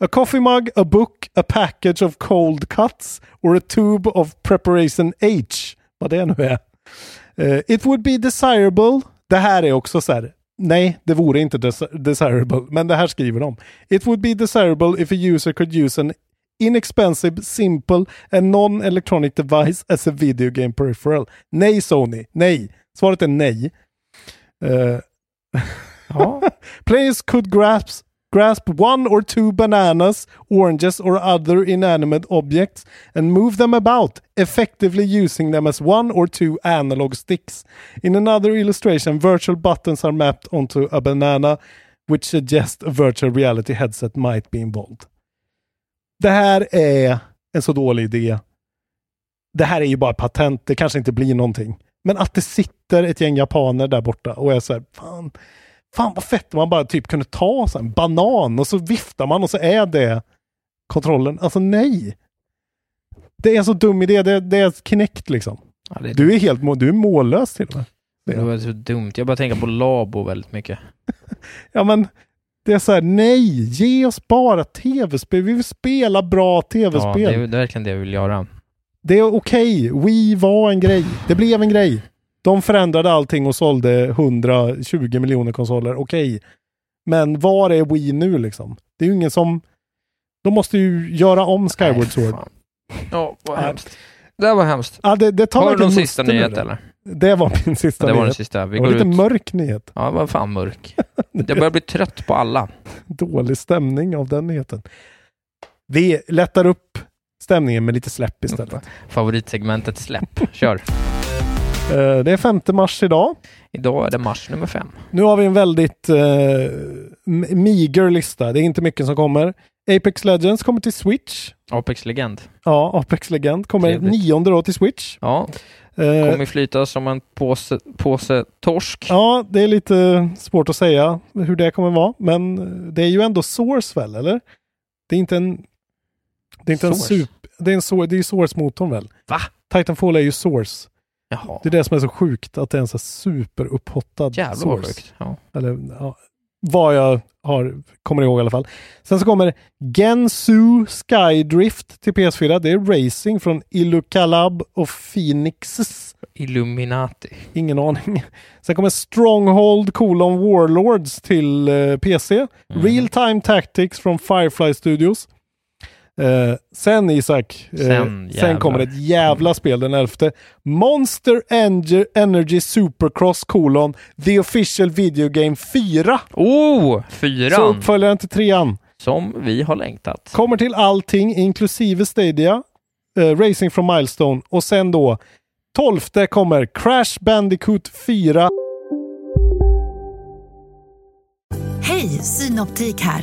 S5: A coffee mug, a book, a package of cold cuts or a tube of preparation H. Vad det nu är. Eh, it would be desirable. Det här är också så här. Nej, det vore inte des- desirable, men det här skriver de. It would be desirable if a user could use an inexpensive, simple and non-electronic device as a video game peripheral. Nej Sony, nej. Svaret är nej. Eh,
S4: Ja.
S5: Players could grasp grasp one or two bananas, oranges or other inanimate objects and move them about, effectively using them as one or two analog sticks. In another illustration, virtual buttons are mapped onto a banana which suggests a virtual reality headset might be involved. Det här är en så dålig idé. Det här är ju bara patent, det kanske inte blir någonting. Men att det sitter ett gäng japaner där borta och är så här, fan, Fan vad fett om man bara typ kunde ta så här en banan och så viftar man och så är det kontrollen. Alltså nej! Det är en så dum idé. Det, det är knäckt liksom.
S2: Ja, det,
S5: Du är helt må- du är mållös till och med.
S2: det var så dumt. Jag bara tänker på Labo väldigt mycket.
S5: Ja men det är så här, nej! Ge oss bara tv-spel. Vi vill spela bra
S2: Ja,
S5: tv-spel.
S2: det är
S5: det,
S2: det
S5: är...
S2: är verkligen det jag vill göra.
S5: okej. Wii var en grej. Det blev en grej. De förändrade allting och sålde 120 miljoner konsoler. Okej. Men var är Wii nu liksom? Det är ju ingen som... De måste ju göra om Skyward
S2: Nej,
S5: Sword.
S2: fan. Ja, vad
S5: Nej.
S2: hemskt. Det här var hemskt.
S5: Ja, det, det tar
S2: Har du
S5: verkligen
S2: någon sista
S5: musten ur
S2: nyhet
S5: det.
S2: eller?
S5: Det var min sista
S2: Ja, det var den
S5: nyhet.
S2: sista. Vi
S5: Det var
S2: går
S5: lite
S2: ut.
S5: mörk nyhet.
S2: Ja, vad fan mörk. Jag börjar bli trött på alla.
S5: Dålig stämning av den nyheten. Vi lättar upp stämningen med lite släpp istället.
S2: Mm. Favoritsegmentet släpp. Kör.
S5: Eh, det är 5 mars idag.
S2: Idag är det mars nummer fem.
S5: Nu har vi en väldigt eh, m- meager lista. Det är inte mycket som kommer. Apex Legends kommer till Switch.
S2: Apex Legend.
S5: Ja, Apex Legend kommer
S2: Trevligt.
S5: nionde då till Switch.
S2: Ja,
S5: Eh,
S2: kommer flyta som en påse, påse torsk.
S5: Ja, det är lite svårt att säga hur det kommer vara, men det är ju ändå Source väl, eller? Det är inte en... Det är inte
S2: Source?
S5: en sup... Det är, en so- det är ju Source-motorn väl?
S2: Va?
S5: Titanfall är ju Source.
S2: Jaha.
S5: Det är det som är så sjukt, att det är en så här superupphottad
S2: Jävlar vad
S5: Source.
S2: sjukt. Ja.
S5: Eller ja, vad jag har, kommer ihåg i alla fall. Sen så kommer Gensu Skydrift till PS4. Det är racing från Illukalab och Phoenixes.
S2: Illuminati.
S5: Ingen aning. Sen kommer Stronghold colon Warlords till eh, PC.
S2: Mm.
S5: Real Time Tactics från Firefly Studios. Eh, sen Isak, eh,
S2: Sen jävlar.
S5: sen kommer ett jävla spel den 11. Monster Enger- Energy Supercross colon The Official Video Game 4.
S2: Oh!
S5: Så
S2: Fyran!
S5: uppföljaren till trean.
S2: Som vi har längtat.
S5: Kommer till allting inklusive Stadia, eh, Racing from Milestone och sen då 12 kommer Crash Bandicoot 4
S6: Hej, Synoptik här.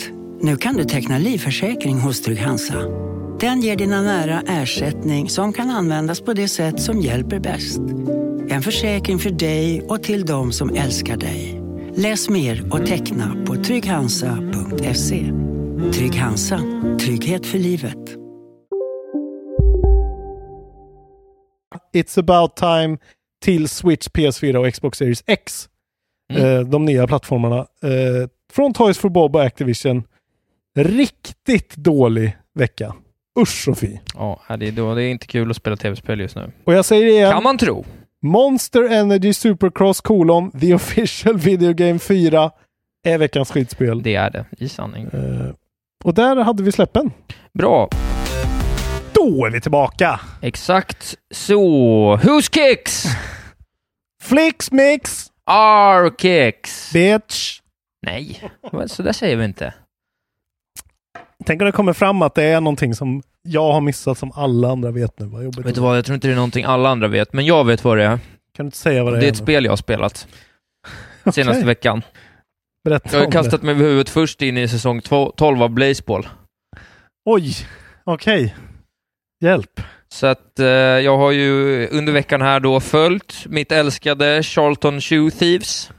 S3: Nu kan du teckna livförsäkring hos Trygg-Hansa. Den ger dina nära ersättning som kan användas på det sätt som hjälper bäst. En försäkring för dig och till de som älskar dig. Läs mer och teckna på trygghansa.se. Trygg-Hansa. Trygghet för livet.
S5: It's about time till Switch, PS4 och Xbox Series X.
S2: Mm.
S5: Eh, de nya plattformarna. Eh, från Toys for Bob och Activision. Riktigt dålig vecka. Usch Sofie.
S2: Ja, det är, då, det är inte kul att spela tv-spel just nu.
S5: Och jag säger det igen.
S2: Kan man tro.
S5: Monster Energy Supercross colon The Official Video Game 4 är veckans skitspel.
S2: Det är det, i sanning.
S5: Eh, och där hade vi släppen.
S2: Bra.
S5: Då är vi tillbaka.
S2: Exakt så. Who's kicks?
S5: Flix Mix
S2: Our kicks.
S5: Bitch.
S2: Nej, men så där säger vi inte.
S5: Tänk om det kommer fram att det är någonting som jag har missat som alla andra vet nu. Vad jobbigt.
S2: Vet du vad, jag tror inte det är någonting alla andra vet, men jag vet vad det är.
S5: Kan du inte säga vad det,
S2: Det är
S5: är?
S2: ett
S5: nu?
S2: spel jag har spelat.
S5: senaste
S7: Okej.
S5: veckan.
S7: Berätta
S5: Jag har
S7: om
S5: ju kastat mig över huvudet först in i säsong två- 12 av Blazeball.
S7: Oj, okej. Hjälp.
S5: Så att eh, jag har ju under veckan här då följt mitt älskade Charlton Shoe Thieves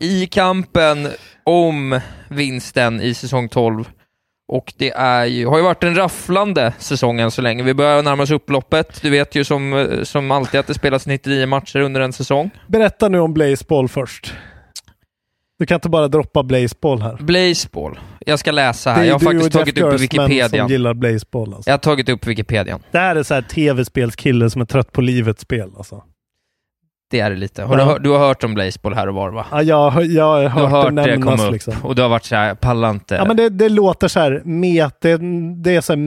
S5: i kampen om vinsten i säsong 12. Och det är ju, har ju varit en rafflande säsong än så länge. Vi börjar närma oss upploppet. Du vet ju som, eh, som alltid att det spelas 99 matcher under en säsong.
S7: Berätta nu om Blazeball först. Du kan inte bara droppa Blazeball här.
S5: Blazeball. Jag ska läsa
S7: Det
S5: här.
S7: är
S5: Jag har
S7: du
S5: faktiskt
S7: och Jeff
S5: tagit upp
S7: Gerstmann
S5: Wikipedia.
S7: som gillar Blazeball alltså.
S5: Jag har tagit upp Wikipedia.
S7: Det här är så här tv-spelskille som är trött på livets spel alltså.
S5: Det är det lite. Har
S7: Ja.
S5: du, hör- du har hört om Blazeball här och var va?
S7: Ja, jag, har- jag har
S5: du
S7: hört,
S5: har hört
S7: det
S5: det komma
S7: nämnas
S5: upp
S7: liksom.
S5: och du har varit så här, eh, pallar inte.
S7: Ja, men det, det låter så här, met, det, det är så här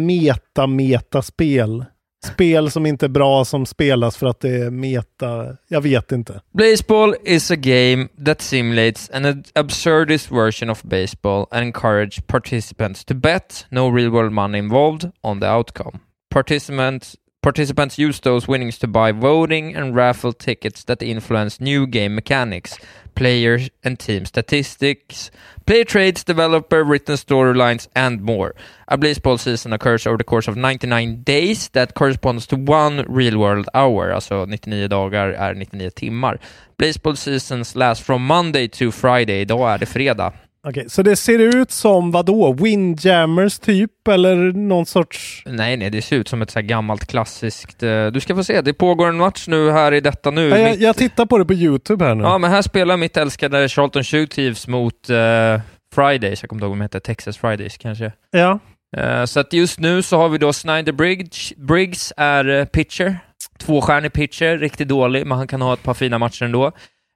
S7: meta-meta-spel. Spel som inte är bra som spelas för att det är meta. Jag vet inte.
S5: Baseball is a game that simulates an ad- absurdist version of baseball and encourages participants to bet, no real world money involved, on the outcome. Participants, participants use those winnings to buy voting and raffle tickets that influence new game mechanics, player and team statistics, player trades, developer written storylines, and more. A baseball season occurs over the course of 99 days that corresponds to one real world hour, alltså 99 dagar är 99 timmar. Baseball seasons last from Monday to Friday, idag är det fredag.
S7: Okej, så det ser ut som vadå? Windjammers typ? Eller någon sorts...
S5: Nej, nej, det ser ut som ett så här gammalt klassiskt... eh, Du ska få se, det pågår en match nu här i detta nu.
S7: Ja, jag,
S5: Mitt-
S7: jag tittar på det på YouTube här nu.
S5: Ja, men här spelar mitt älskade Charlton Shoe Thieves mot eh, Fridays, jag kommer inte ihåg vad de hette, Texas Fridays kanske.
S7: Ja.
S5: Eh, så att just nu så har vi då Snyder Briggs, Briggs är eh, pitcher, tvåstjärnig pitcher, riktigt dålig, men han kan ha ett par fina matcher ändå.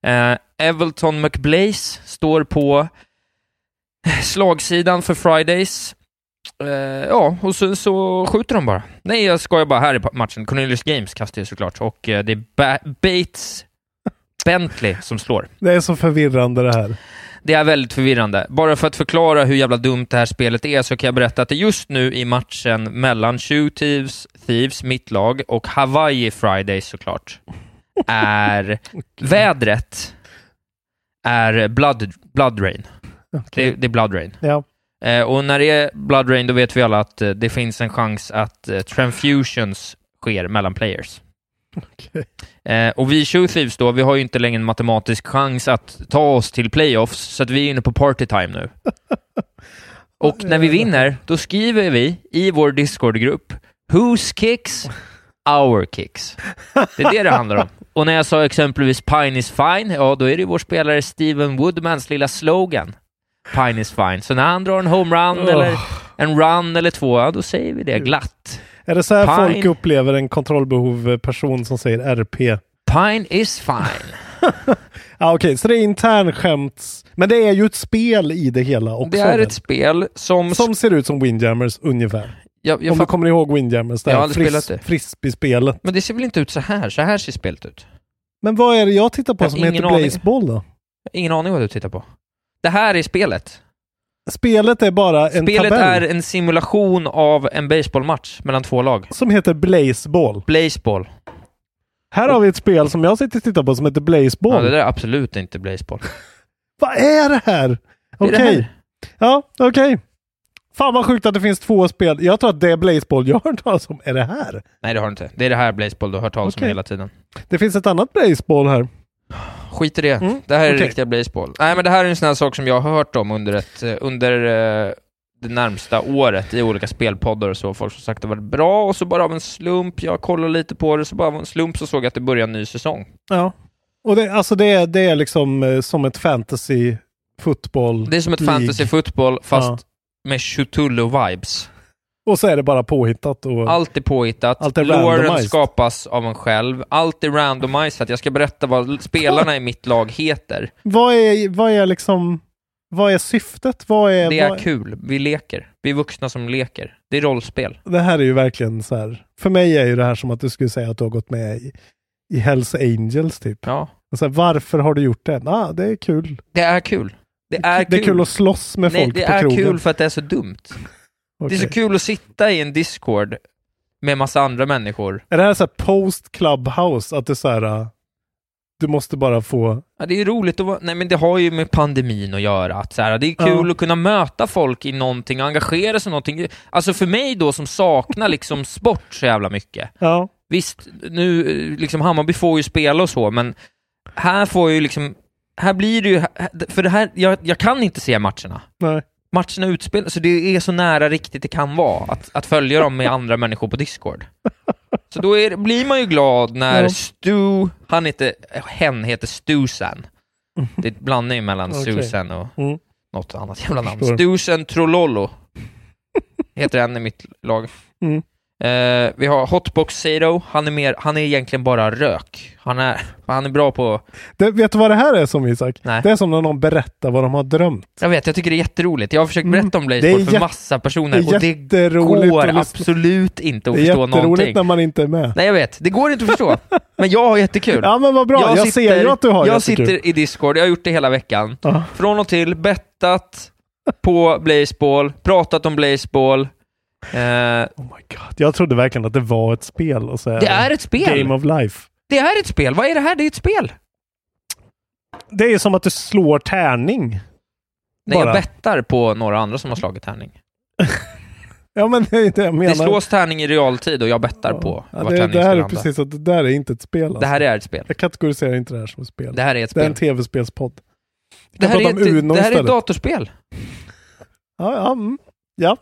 S5: Eh, Evelton McBlaze står på slagsidan för Fridays. Eh, ja, och så, så skjuter de bara. Nej, jag skojar bara. Här i pa- matchen. Cornelius Games kastar ju såklart, och eh, det är ba- Bates Bentley som slår.
S7: Det är så förvirrande det här.
S5: Det är väldigt förvirrande. Bara för att förklara hur jävla dumt det här spelet är så kan jag berätta att det just nu i matchen mellan Shoe Thieves, Thieves, mitt lag, och Hawaii Fridays såklart, är vädret är blood, blood rain. Det, det är blood rain.
S7: Ja.
S5: Eh, och när det är blood rain, då vet vi alla att eh, det finns en chans att eh, transfusions sker mellan players. Eh, och vi Shoe Thieves då, vi har ju inte längre en matematisk chans att ta oss till playoffs, så att vi är inne på party time nu. Och när vi vinner, då skriver vi i vår Discord-grupp “Whose kicks? Our kicks”. Det är det det handlar om. Och när jag sa exempelvis “Pine is fine”, ja då är det ju vår spelare Steven Woodmans lilla slogan. Pine is fine. Så när han drar en homerun
S7: Oh.
S5: eller en run eller två, ja, då säger vi det glatt.
S7: Är det så här
S5: Pine.
S7: folk upplever en kontrollbehov eh, person som säger RP?
S5: Pine is fine.
S7: Ja, Okej, så det är internskämts... Men det är ju ett spel i det hela också.
S5: Det är
S7: väl?
S5: ett spel som...
S7: Som ser ut som Windjammers ungefär.
S5: jag, jag
S7: Om du
S5: fatt-
S7: kommer ihåg Windjammers, det
S5: Jag har
S7: här
S5: aldrig spelat det.
S7: fris- frisbeespelet.
S5: Men det ser väl inte ut så här? Så här ser spelet ut.
S7: Men vad är det jag tittar på
S5: Jag har
S7: som heter
S5: ingen aning.
S7: Blazeball då?
S5: Ingen aning vad du tittar på. Det här är spelet.
S7: Spelet är bara en
S5: spelet
S7: tabell
S5: är en simulation av en baseballmatch mellan två lag.
S7: som heter Blazeball.
S5: Blazeball.
S7: Här har vi ett spel som jag sitter och tittar på som heter Blazeball.
S5: Ja, det där är absolut inte Blazeball.
S7: Vad är det här?
S5: är
S7: Okej.
S5: det här.
S7: Ja, okej. Fan vad sjukt att det finns två spel. Jag tror att det Blazeball jag har hört talas om är det här.
S5: Nej, det har du inte. Det är det här Blazeball du har hört talas om
S7: Okej.
S5: hela tiden.
S7: Det finns ett annat Blazeball här. Mm.
S5: Skit i det. det här är
S7: okej.
S5: riktiga Blazeball. Nej, men det här är en sån här sak som jag har hört om under, ett, eh, under eh, det närmsta året i olika spelpoddar och så. Folk som sagt att det varit bra och så bara av en slump, jag kollade lite på det, så bara av en slump så såg jag att det började en ny säsong.
S7: Ja. Och det, alltså det, är- det är liksom eh, som ett fantasy fotboll.
S5: Det är som ett
S7: League.
S5: fantasy football fast
S7: Ja.
S5: med Chutullo-vibes.
S7: Och så är det bara påhittat. Och,
S5: Allt är påhittat.
S7: Allt är
S5: Loren
S7: randomized.
S5: skapas av en själv. Allt är randomized. Jag ska berätta vad spelarna i mitt lag heter.
S7: vad, är, vad är liksom... Vad är syftet? Vad är,
S5: Det är
S7: vad,
S5: kul. Vi leker. Vi är vuxna som leker. Det är rollspel.
S7: Det här är ju verkligen så här. För mig är ju det här som att du skulle säga att du har gått med i, i Hells Angels typ.
S5: Ja.
S7: Och så här, varför har du gjort det? Ah, det är kul.
S5: Det är kul. Det är kul.
S7: Det är kul att slåss med
S5: Nej,
S7: folk
S5: det
S7: på
S5: är
S7: krogen.
S5: kul för att det är så dumt. Det är
S7: Okej.
S5: så kul att sitta i en Discord med massa andra människor.
S7: Är det här så här post clubhouse? Att det är så här, äh,
S1: Du måste bara få...
S5: Ja, det är ju roligt att vara, nej men det har ju med pandemin att göra, att så här, det är kul
S1: Ja.
S5: att kunna möta folk i någonting och engagera sig i någonting. Alltså för mig då som saknar liksom sport så jävla mycket.
S1: Ja.
S5: Visst, nu, eh, liksom Hammarby får ju spela och så, men här får jag ju liksom, här blir det ju, för det här, jag, jag kan inte se matcherna.
S1: Nej.
S5: Matcherna utspelas, så det är så nära riktigt det kan vara att, att följa dem med andra människor på Discord. Så då är, det- blir man ju glad när
S1: Ja.
S5: Stu, han heter, hen heter Stusan. Det är en blandning mellan
S1: Mm. Okej.
S5: Susan och
S1: Mm.
S5: något annat jävla namn.
S1: Förstår.
S5: Stusan Trololo heter han i mitt lag.
S1: Mm.
S5: Eh, vi har Hotbox Zero, han är, mer, han är egentligen bara rök. Han är, han är bra på...
S1: Det, vet du vad det här är som Isak?
S5: Nej.
S1: Det är som när någon berättar vad de har drömt.
S5: Jag vet, jag tycker det är jätteroligt. Jag har försökt berätta om
S1: Mm. Det är
S5: Blazeboard för
S1: jä-
S5: massa
S1: det
S5: personer
S1: är
S5: och det
S1: jätteroligt att
S5: går
S1: lyssna.
S5: absolut inte att
S1: Det är
S5: förstå
S1: jätteroligt
S5: någonting.
S1: när man inte är med.
S5: Nej jag vet, det går inte att förstå. Men jag har jättekul.
S1: Ja men vad bra, jag, ser ju att du har
S5: Jag
S1: jättekul.
S5: sitter i Discord, jag har gjort det hela veckan.
S1: Ja.
S5: Från och till, bettat på Blazeball, pratat om Blazeball. Eh,
S1: Oh Jag trodde verkligen att det var ett spel. Och så
S5: Det är ett spel.
S1: Game of life.
S5: det här är ett spel, vad är det här? Det är ett spel.
S1: Det är ju som att du slår tärning.
S5: Nej,
S1: Bara.
S5: jag bettar på några andra som har slagit tärning.
S1: Ja men det är inte det jag menar.
S5: Det slås tärning i realtid och jag bettar på
S1: ja,
S5: vad
S1: det,
S5: tärningen
S1: det
S5: ska
S1: här är
S5: landa.
S1: precis att det där är inte ett spel. Alltså.
S5: Det här är ett spel.
S1: Jag kategoriserar inte det här som ett spel.
S5: Det här är ett
S1: Det är en
S5: spel.
S1: tv-spelspodd. Vi
S5: Det
S1: kan
S5: här
S1: prata
S5: är
S1: om
S5: ett,
S1: Uno
S5: det här är ett
S1: istället.
S5: datorspel.
S1: Ja, ja, mm. ja.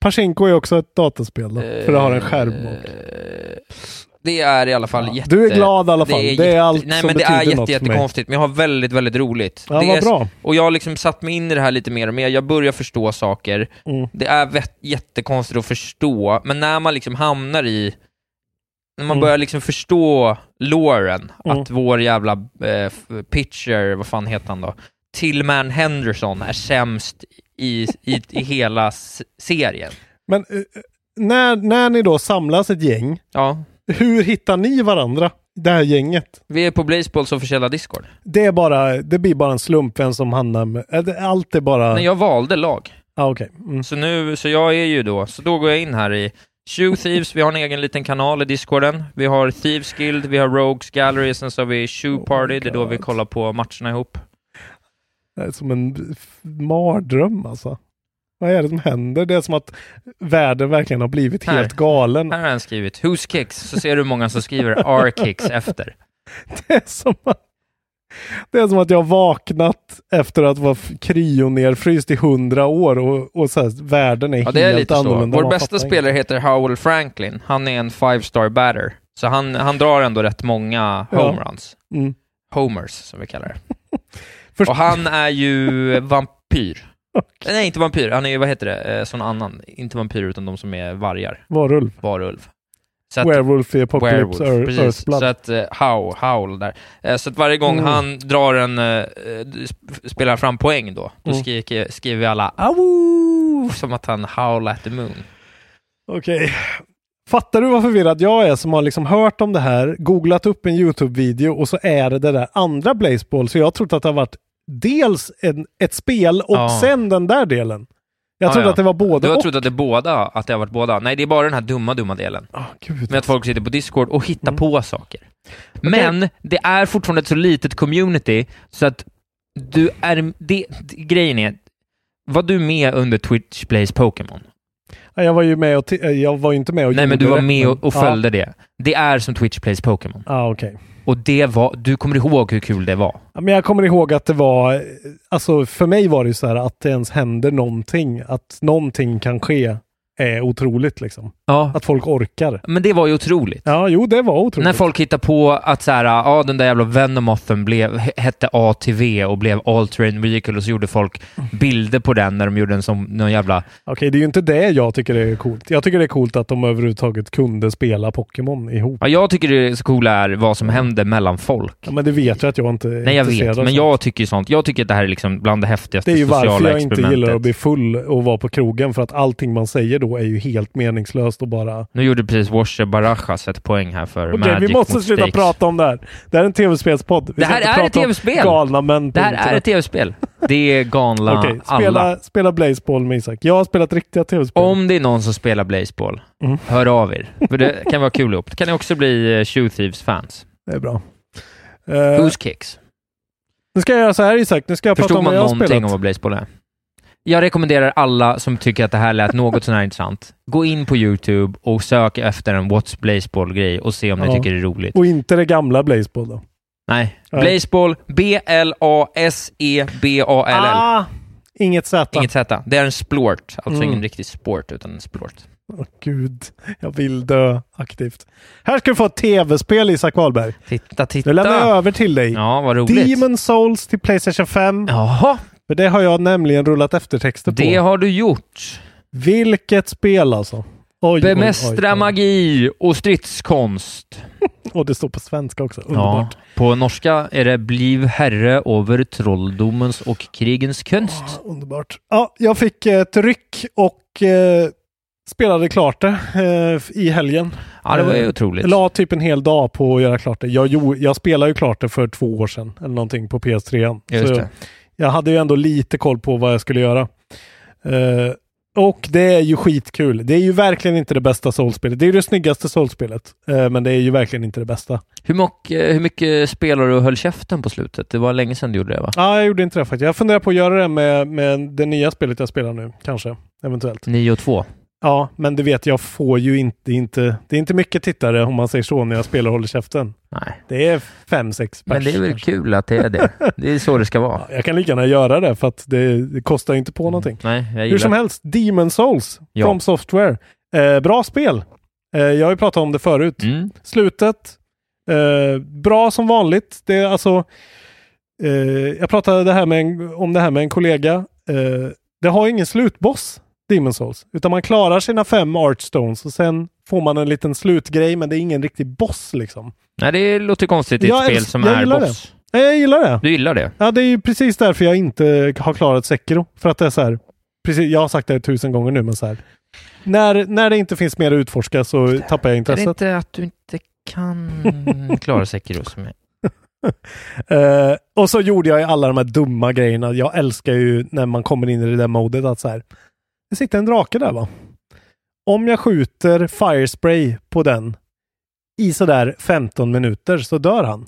S1: Pachinko är också ett dataspel. Då, för det har en skärm. Och...
S5: Eh, Det är i alla fall jätte...
S1: Du är glad i alla fall. Det är allt
S5: Nej,
S1: som
S5: men det är
S1: betyder
S5: jätte,
S1: något för mig.
S5: jättekonstigt, men jag har väldigt, väldigt roligt.
S1: Ja,
S5: det
S1: vad
S5: är,
S1: bra.
S5: Och jag har liksom satt mig in i det här lite mer och mer. Jag börjar förstå saker.
S1: Mm.
S5: Det är vett- jättekonstigt att förstå, men när man liksom hamnar i... När man
S1: Mm.
S5: börjar liksom förstå loren,
S1: Mm.
S5: att vår jävla eh, f- pitcher, vad fan heter han då? Tillman Henderson är sämst i, i, i hela s- serien.
S1: Men eh, när, när ni då samlas ett gäng,
S5: Ja,
S1: hur hittar ni varandra? Det här gänget?
S5: vi är på Blazeballs officiella Discord.
S1: Det, är bara, det blir bara en slump vem som hamnar med... eh, det- Allt är bara...
S5: Men jag valde lag.
S1: ah, okej. Mm.
S5: Så nu, så jag är ju då, så då går jag in här i Shoe Thieves, vi har en egen liten kanal i discorden. Vi har Thieves Guild, vi har Rogues Gallery, sen så har vi Shoe
S1: Oh
S5: Party, det är då vi kollar på matcherna ihop.
S1: Det är som en f- mardröm alltså. Vad är det som händer? Det är som att världen verkligen har blivit
S5: Här.
S1: helt galen.
S5: Här har han skrivit Who's Kicks, så ser du hur många som skriver R-Kicks efter.
S1: Det är som att, det är som att jag har vaknat efter att vara f- kryonerfryst i hundra år och, och så här, världen är
S5: Ja,
S1: helt
S5: det är lite så.
S1: annorlunda.
S5: Vår
S1: Man
S5: bästa
S1: fattar
S5: spelare heter Howell Franklin, han är en five-star batter. Så han, han drar ändå rätt många
S1: Ja.
S5: homeruns.
S1: inget. Mm.
S5: Homers, som vi kallar det.
S1: Först-
S5: Och han är ju vampyr. Nej, inte vampyr. Han är ju, vad heter det, eh, sån annan. Inte vampyr, utan de som är vargar.
S1: Varulv.
S5: Varulv. Så att,
S1: Werewolf i Apocalypse
S5: werewolf,
S1: Earth-
S5: precis.
S1: Earthblood.
S5: Så att, eh, howl, howl där. Eh, så att varje gång
S1: Mm.
S5: han drar en, eh, eh, sp- spelar fram poäng då, då
S1: Mm.
S5: skriker, skriver alla Awoo! som att han howl at the moon.
S1: Okej. Fattar du vad förvirrad jag är som har liksom hört om det här, googlat upp en YouTube-video och så är det det där andra Blazeball. Så jag har trott att det har varit dels en, ett spel och
S5: Ja.
S1: sen den där delen. Jag
S5: Ja,
S1: trodde
S5: ja.
S1: att det var både
S5: Du har
S1: och.
S5: trott att det är båda, att det har varit båda? Nej, det är bara den här dumma, dumma delen.
S1: Ah, gud. Mm.
S5: med att folk sitter på Discord och hittar på saker. Men det är fortfarande ett så litet community, så att du är... Det, det, grejen är, var du med under Twitch Plays Pokémon?
S1: Ja, Jag var ju med och ti- eh, jag var ju inte med och
S5: Nej, men du
S1: gjorde
S5: var
S1: det,
S5: med
S1: men-
S5: och, och följde det. Det är som Twitch Plays Pokémon.
S1: Ja, ah, okej.
S5: Och det var... Du kommer ihåg hur kul det var?
S1: Ja, Men jag kommer ihåg att det var, eh, alltså för mig var det ju så här att det ens händer någonting, att någonting kan ske är otroligt liksom.
S5: Ja.
S1: Att folk orkar.
S5: Men det var ju otroligt.
S1: Ja, jo det var otroligt.
S5: När folk hittar på att så här, ja den där jävla Venomothen blev, he- hette ATV och blev All Terrain Vehicle och så gjorde folk
S1: Mm.
S5: bilder på den när de gjorde en som någon jävla...
S1: Okej, det är ju inte det jag tycker är coolt. Jag tycker det är coolt att de överhuvudtaget kunde spela Pokémon ihop.
S5: Ja, jag tycker det så coola är vad som händer mellan folk.
S1: Ja, men det vet jag att jag inte är
S5: Nej, jag
S1: intresserad
S5: vet,
S1: av
S5: men
S1: sånt.
S5: jag tycker ju sånt. Jag tycker att det här är liksom bland det häftigaste
S1: Det är ju
S5: sociala
S1: varför jag inte
S5: experimentet.
S1: gillar att bli full och vara på krogen, för att allting man säger då är ju helt meningslöst och bara...
S5: Nu gjorde precis Washer Barajas ett poäng här för
S1: Okej,
S5: Magic
S1: vi måste
S5: mot
S1: sluta
S5: Stakes.
S1: prata om det här. Det här är en tv-spelspodd. Vi
S5: Det
S1: ska
S5: här
S1: inte
S5: är
S1: prata
S5: ett
S1: om
S5: tv-spel.
S1: Galna män. på
S5: Det här är
S1: internet.
S5: ett tv-spel. Det är galna
S1: Okej,
S5: alla.
S1: spela, spela Blazeball med Isak. Jag har spelat riktiga tv-spel.
S5: Om det är någon som spelar Blazeball,
S1: Mm.
S5: hör av er. För det kan vara kul ihop. Det kan ni också bli eh, Shoe Thieves-fans.
S1: Det är bra.
S5: Eh,
S2: Who's Kicks?
S5: nu ska jag göra så här Isak, nu ska jag prata
S2: Förstod
S5: om vad
S2: man
S5: jag har
S2: någonting
S5: spelat.
S2: om vad Blazeball är? Jag rekommenderar alla som tycker att det här lät något sånär intressant, gå in på YouTube och sök efter en What's Blazeball-grej och se om ni
S5: Ja.
S2: tycker det är roligt.
S5: Och inte det gamla Blazeball då.
S2: Nej.
S5: Nej.
S2: Blazeball, E B-L-A-S-E-B-A-L-L.
S5: Ah, inget Z.
S2: Inget Z. Det är en splort. Alltså
S5: Mm.
S2: ingen riktig sport, utan en splort.
S5: Åh gud, jag vill dö aktivt. Här ska du få ett tv-spel Isak Wahlberg.
S2: Titta, titta.
S5: Nu lämnar jag över till dig.
S2: Ja, vad roligt.
S5: Demon Souls till Playstation 5.
S2: Jaha,
S5: För det har jag nämligen rullat eftertexter på.
S2: det har du gjort.
S5: Vilket spel alltså. Oj,
S2: Bemästra
S5: oj, oj, oj.
S2: magi och stridskonst.
S5: Och det står på svenska också. Underbart.
S2: På norska är det Bliv herre över trolldomens och krigens konst.
S5: Underbart. Ja, jag fick eh, ett ryck och eh, spelade klart det eh, i helgen.
S2: Ja, det var ju
S5: Eh,
S2: otroligt.
S5: Jag la typ en hel dag på att göra klart det. Jag, jo, jag spelade ju klart det för två år sedan eller någonting på PS3.
S2: Just
S5: Så
S2: det.
S5: Jag hade ju ändå lite koll på vad jag skulle göra. Eh, och det är ju skitkul. Det är ju verkligen inte det bästa soulspelet. Det är ju det snyggaste soulspelet, eh, men det är ju verkligen inte det bästa.
S2: Hur, mock, hur mycket spelade du och höll käften på slutet? Det var länge sedan du gjorde det, va?
S5: Ja, jag gjorde inte det faktiskt. Jag funderar på att göra det med, med det nya spelet jag spelar nu, kanske. Eventuellt.
S2: 9 och 2.
S5: Ja, men du vet, jag får ju inte, inte... Det är inte mycket tittare om man säger så när jag spelar och håller käften.
S2: Nej.
S5: Det är fem, sex
S2: Men
S5: pers.
S2: det är väl
S5: kanske.
S2: kul att det är det. Det är så det ska vara. Mm.
S5: Ja, jag kan lika gärna göra det för att det, det kostar ju inte på någonting.
S2: Nej, jag
S5: Hur som
S2: gillar
S5: helst, Demon Souls
S2: Ja.
S5: from Software. Eh, bra spel. Eh, jag har ju pratat om det förut.
S2: Mm.
S5: Slutet, eh, bra som vanligt. Det är alltså, eh, jag pratade det här med en, om det här med en kollega. Eh, det har ingen slutboss, Demon Souls, utan man klarar sina fem Archstones och sen får man en liten slutgrej, men det är ingen riktig boss liksom.
S2: Nej, det låter konstigt i ett
S5: Jag
S2: spel
S5: älsk-
S2: som
S5: jag
S2: är
S5: gillar
S2: boss.
S5: Nej, jag gillar det.
S2: Du gillar det?
S5: Ja, det är ju precis därför jag inte har klarat Sekiro. För att det är så här, precis, jag har sagt det tusen gånger nu, men så här. När, när det inte finns mer att utforska så tappar
S2: Är
S5: jag
S2: det
S5: intresset.
S2: inte att du inte kan klara Sekiro som är...
S5: Eh, och så gjorde jag ju alla de här dumma grejerna. Jag älskar ju när man kommer in i det där modet att så här. Det sitter en drake där va? Om jag skjuter firespray på den i sådär 15 minuter så dör han.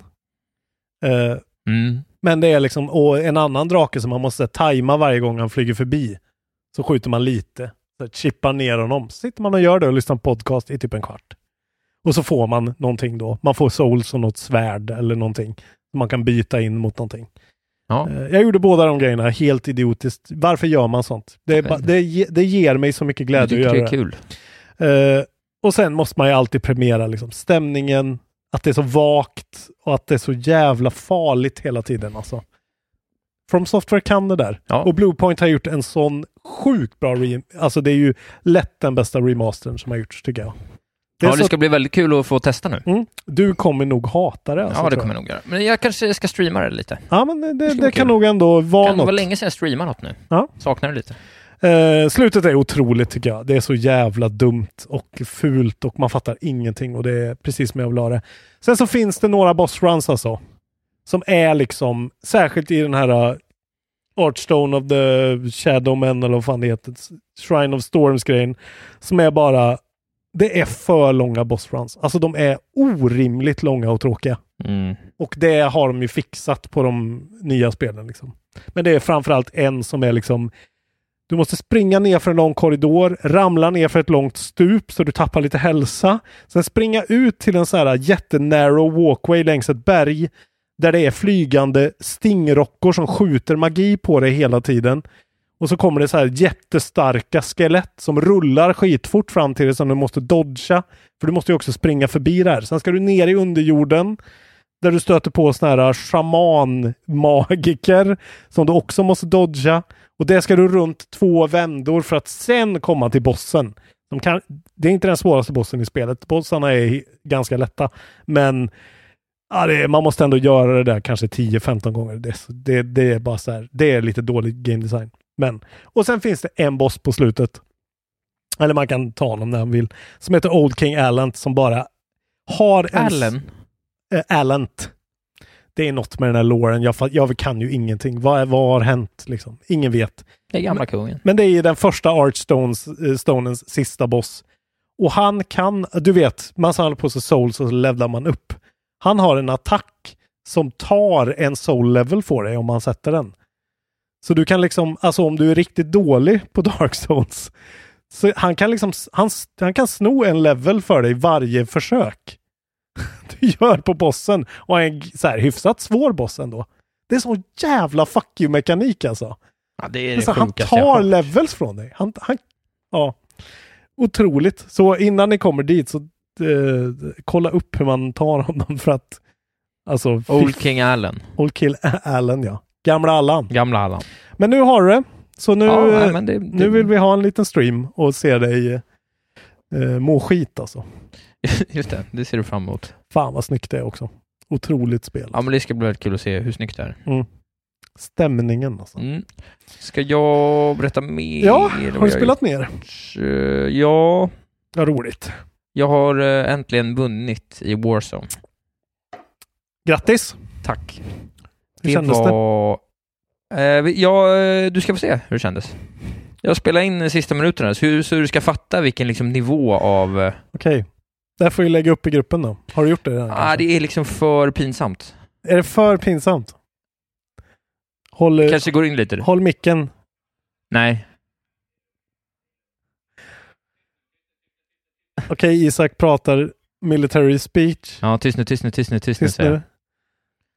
S5: Eh,
S2: Mm.
S5: men det är liksom och en annan drake som man måste tajma varje gång han flyger förbi. Så skjuter man lite. Så chippar ner honom. Så sitter man och gör det och lyssnar på podcast i typ en kvart. Och så får man någonting då. Man får souls och något svärd eller någonting. Som man kan byta in mot någonting.
S2: Ja.
S5: Eh, Jag gjorde båda de grejerna helt idiotiskt. Varför gör man sånt? Det, är
S2: vet
S5: ba-
S2: inte.
S5: det, ge- det ger mig så mycket
S2: Du
S5: glädje
S2: tycker
S5: att
S2: det
S5: göra
S2: är
S5: det.
S2: kul?
S5: Eh, och sen måste man ju alltid premiera liksom, stämningen, att det är så vagt och att det är så jävla farligt hela tiden. Alltså. From Software kan det där.
S2: Ja.
S5: Och Bluepoint har gjort en sån sjukt bra re- Alltså det är ju lätt den bästa remastern som har gjorts tycker jag. Det är
S2: Ja, det
S5: så-
S2: ska bli väldigt kul att få testa nu.
S5: mm, du kommer nog hata det. Alltså,
S2: Ja, det
S5: tror
S2: kommer jag nog göra. Men jag kanske ska streama det lite.
S5: Ja, men det, det,
S2: ska
S5: det
S2: vara
S5: kan
S2: kul.
S5: nog ändå vara
S2: Kan det
S5: något.
S2: var länge sedan jag streamade något nu.
S5: Ja.
S2: Saknar det lite.
S5: Eh, slutet är otroligt tycker jag. Det är så jävla dumt och fult och man fattar ingenting och det är precis som jag vill ha det. Sen så finns det några bossruns alltså. Som är liksom, särskilt i den här eh, Archstone of the Shadowmen eller vad fan det heter. Shrine of Storms-grejen. Som är bara, det är för långa bossruns. Alltså de är orimligt långa och tråkiga.
S2: Mm.
S5: Och det har de ju fixat på de nya spelen. Liksom. Men det är framförallt en som är liksom du måste springa ner för en lång korridor, ramla ner för ett långt stup så du tappar lite hälsa. Sen springa ut till en så här jättenarrow walkway längs ett berg där det är flygande stingrockor som skjuter magi på dig hela tiden. Och så kommer det så här jättestarka skelett som rullar skitfort fram till dig som du måste dodga. För du måste ju också springa förbi där. Sen ska du ner i underjorden där du stöter på såna här shamanmagiker som du också måste dodga. Och det ska du runt två vändor för att sen komma till bossen. De kan, det är inte den svåraste bossen i spelet. Bossarna är hi- ganska lätta. Men ja, det, är- man måste ändå göra det där kanske 10-15 gånger. Det, är så- det, det är bara så här. Det är lite dålig game design. Men, och sen finns det en boss på slutet. Eller man kan ta honom när han vill. Som heter Old King Allant som bara har en...
S2: Allen?
S5: Eh, Allant. Det är något med den här låren. Jag, fa- jag kan ju ingenting. Vad, är- vad har hänt? Liksom? Ingen vet.
S2: Det är gamla kungen.
S5: Men det är ju den första Archstones eh, Stonens sista boss. Och han kan, du vet, man samlar på sig souls och så levlar man upp. Han har en attack som tar en soul level för dig om man sätter den. Så du kan liksom, alltså om du är riktigt dålig på Dark Souls, så han kan liksom, han, han kan sno en level för dig varje försök du gör på bossen och en så här, hyfsat svår boss ändå. Det är sån jävla fuck you-mekanik alltså.
S4: Ja, det är
S5: alltså
S4: det
S5: han
S4: sjukaste jag
S5: tar
S4: har hört.
S5: levels från dig. Han, han, ja. Otroligt. Så innan ni kommer dit så eh, kolla upp hur man tar honom för att... Alltså, fy-
S2: Old King Allen.
S5: Old Kill Allen ja. Gamla Allan.
S2: Gamla Allan.
S5: Men nu har du det. Så nu,
S2: Ja, nej,
S5: eh,
S2: men det-
S5: nu vill vi ha en liten stream och se dig eh, eh, må skit alltså.
S2: Just det, det ser du fram emot.
S5: Fan vad snyggt det är också. Otroligt spel.
S2: Ja, men det ska bli väldigt kul att se hur snyggt det är.
S5: Mm. Stämningen alltså.
S2: Mm. Ska jag berätta mer?
S5: Ja,
S2: om vad
S5: har
S2: jag
S5: du spelat mer?
S2: gjort? Eh, Ja,
S5: Vad roligt.
S2: jag har eh, äntligen vunnit i Warzone.
S5: Grattis!
S2: Tack.
S5: Hur kändes det?
S2: var... Eh, vi- ja, eh, du ska få se hur det kändes. Jag spelar in de sista minuterna, så, så du ska fatta vilken liksom, nivå av... eh,
S5: Okej. Det här får vi lägga upp i gruppen då. Har du gjort det redan?
S2: ah,
S5: kanske?
S2: det är liksom för pinsamt.
S5: Är det för pinsamt? Håll, eh,
S2: Kanske går in lite.
S5: håll micken.
S2: Nej.
S5: Okej, Isak pratar military speech.
S2: Ja, tyst nu, tyst nu, tyst nu, tyst nu.
S5: Tyst
S2: säger jag.
S5: nu.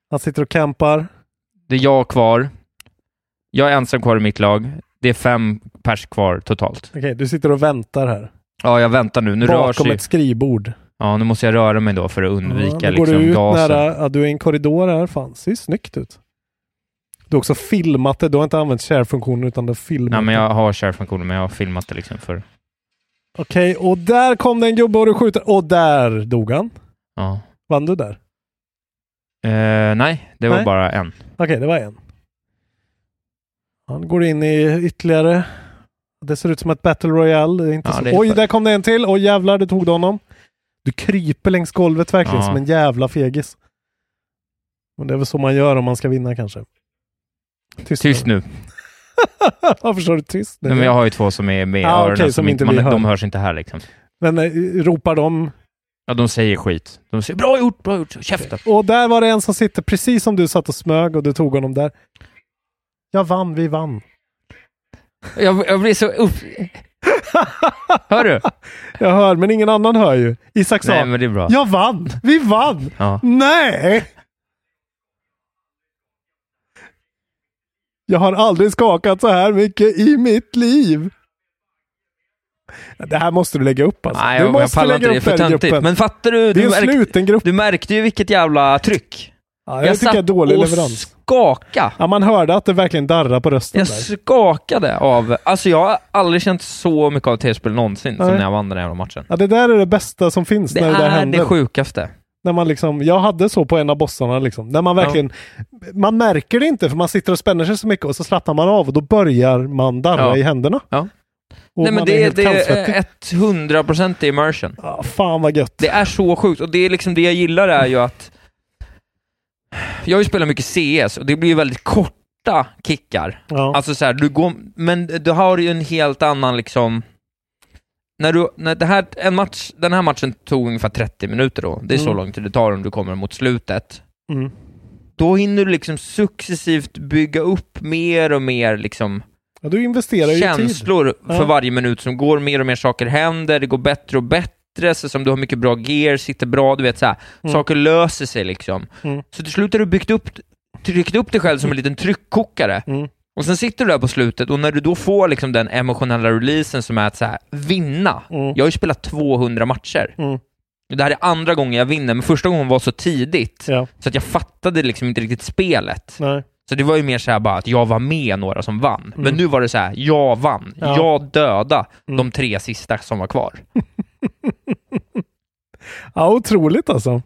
S5: Han sitter och campar.
S2: Det är jag kvar. Jag är ensam kvar i mitt lag. Det är fem pers kvar totalt.
S5: Okej, du sitter och väntar här.
S2: Ja, jag väntar nu. Nu rör
S5: bakom
S2: sig...
S5: ett skrivbord.
S2: Ja, nu måste jag röra mig då för att undvika
S5: Ja, då går
S2: liksom,
S5: du ut
S2: gasen.
S5: nära, ja, du är i en korridor här. Fan, ser ju snyggt ut. Du har också filmat det. Du har inte använt share-funktionen utan du har filmat
S2: Nej, men
S5: det.
S2: jag har share-funktionen, men jag har filmat det liksom för...
S5: Okej, och där kom den gubbe och du skjuter. Och där dog han.
S2: Ja.
S5: Vann du där?
S2: Eh, nej, det var
S5: Nej.
S2: bara en.
S5: Okej, det var en. Han går in i ytterligare. Det ser ut som ett Battle Royale. Det är inte
S2: Ja,
S5: så.
S2: det är
S5: Oj,
S2: för-
S5: där kom det en till. Oj, jävlar, du tog du honom. Du kryper längs golvet verkligen
S2: Ja.
S5: som en jävla fegis. Men det är väl så man gör om man ska vinna kanske. Tyst,
S2: Tyst nu.
S5: Varför sa du tyst nu?
S2: Nej, men jag har ju två som är med i
S5: Ah,
S2: öronen,
S5: okej,
S2: som, inte man,
S5: blir hörda.
S2: de hörs inte här liksom.
S5: Men eh, ropar de...
S2: Ja, de säger skit. De säger bra gjort, bra gjort, käften.
S5: Och där var det en som sitter precis som du satt och smög och du tog honom där. Jag vann, vi vann.
S2: Jag, jag blir så upp... Hör du?
S5: Jag hör, men ingen annan hör ju. Isak sa,
S2: Nej, men det är bra.
S5: jag vann, vi vann.
S2: Ja.
S5: Nej! Jag har aldrig skakat så här mycket i mitt liv. Det här måste du lägga upp alltså.
S2: Nej,
S5: du
S2: jag, jag
S5: måste
S2: pallar inte det. Det är för
S5: här i
S2: töntigt.
S5: gruppen.
S2: Men fattar du?
S5: det
S2: Du,
S5: är en
S2: märk,
S5: sluten grupp.
S2: du märkte ju vilket jävla tryck.
S5: Ja, jag, tycker jag är dålig
S2: och
S5: leverans.
S2: skaka.
S5: Ja, man hörde att det verkligen darrar på rösten
S2: Jag
S5: där.
S2: skakade av... Alltså jag har aldrig känt så mycket av tv-spel någonsin som
S5: Nej.
S2: när jag vann den här jävla matchen.
S5: Ja, det där är det bästa som finns
S2: Det
S5: när det där
S2: är
S5: händer.
S2: det sjukaste.
S5: när man liksom, jag hade så på en av bossarna, liksom, när man verkligen, man märker det inte för man sitter och spänner sig så mycket och så slappnar man av och då börjar man darra
S2: Ja.
S5: i händerna.
S2: Ja.
S5: Och
S2: Nej, men
S5: man
S2: det,
S5: är
S2: är
S5: helt
S2: det
S5: kallsvettig.
S2: är 100% immersion.
S5: Ah, fan vad gött.
S2: Det är så sjukt och det, är liksom det jag gillar är ju att jag har ju spelat mycket CS och det blir ju väldigt korta kickar.
S5: Ja.
S2: Alltså så här, du går, men du har ju en helt annan liksom... När du, när det här, en match, den här matchen tog ungefär 30 minuter då. Det är så
S5: Mm.
S2: lång tid det tar om du kommer mot slutet.
S5: Mm.
S2: Då hinner du liksom successivt bygga upp mer och mer liksom
S5: ja, du investerar ju tid.
S2: känslor för
S5: Ja.
S2: varje minut som går. Mer och mer saker händer, det går bättre och bättre, så som du har mycket bra gear, sitter bra, du vet så här.
S5: Mm.
S2: Saker löser sig liksom.
S5: Mm.
S2: Så till slut har du byggt upp, tryckt upp dig själv som en liten tryckkokare.
S5: Mm.
S2: Och sen sitter du där på slutet och när du då får liksom den emotionella releasen som är att så här, vinna.
S5: Mm.
S2: Jag har ju spelat 200 matcher.
S5: Mm.
S2: Det här är andra gången jag vinner, men första gången var så tidigt
S5: Ja,
S2: så att jag fattade liksom inte riktigt spelet.
S5: nej.
S2: Så det var ju mer så här bara att jag var med några som vann. Men
S5: Mm.
S2: nu var det så här, jag vann.
S5: Ja.
S2: Jag döda
S5: Mm.
S2: de tre sista som var kvar.
S5: Ja, otroligt alltså.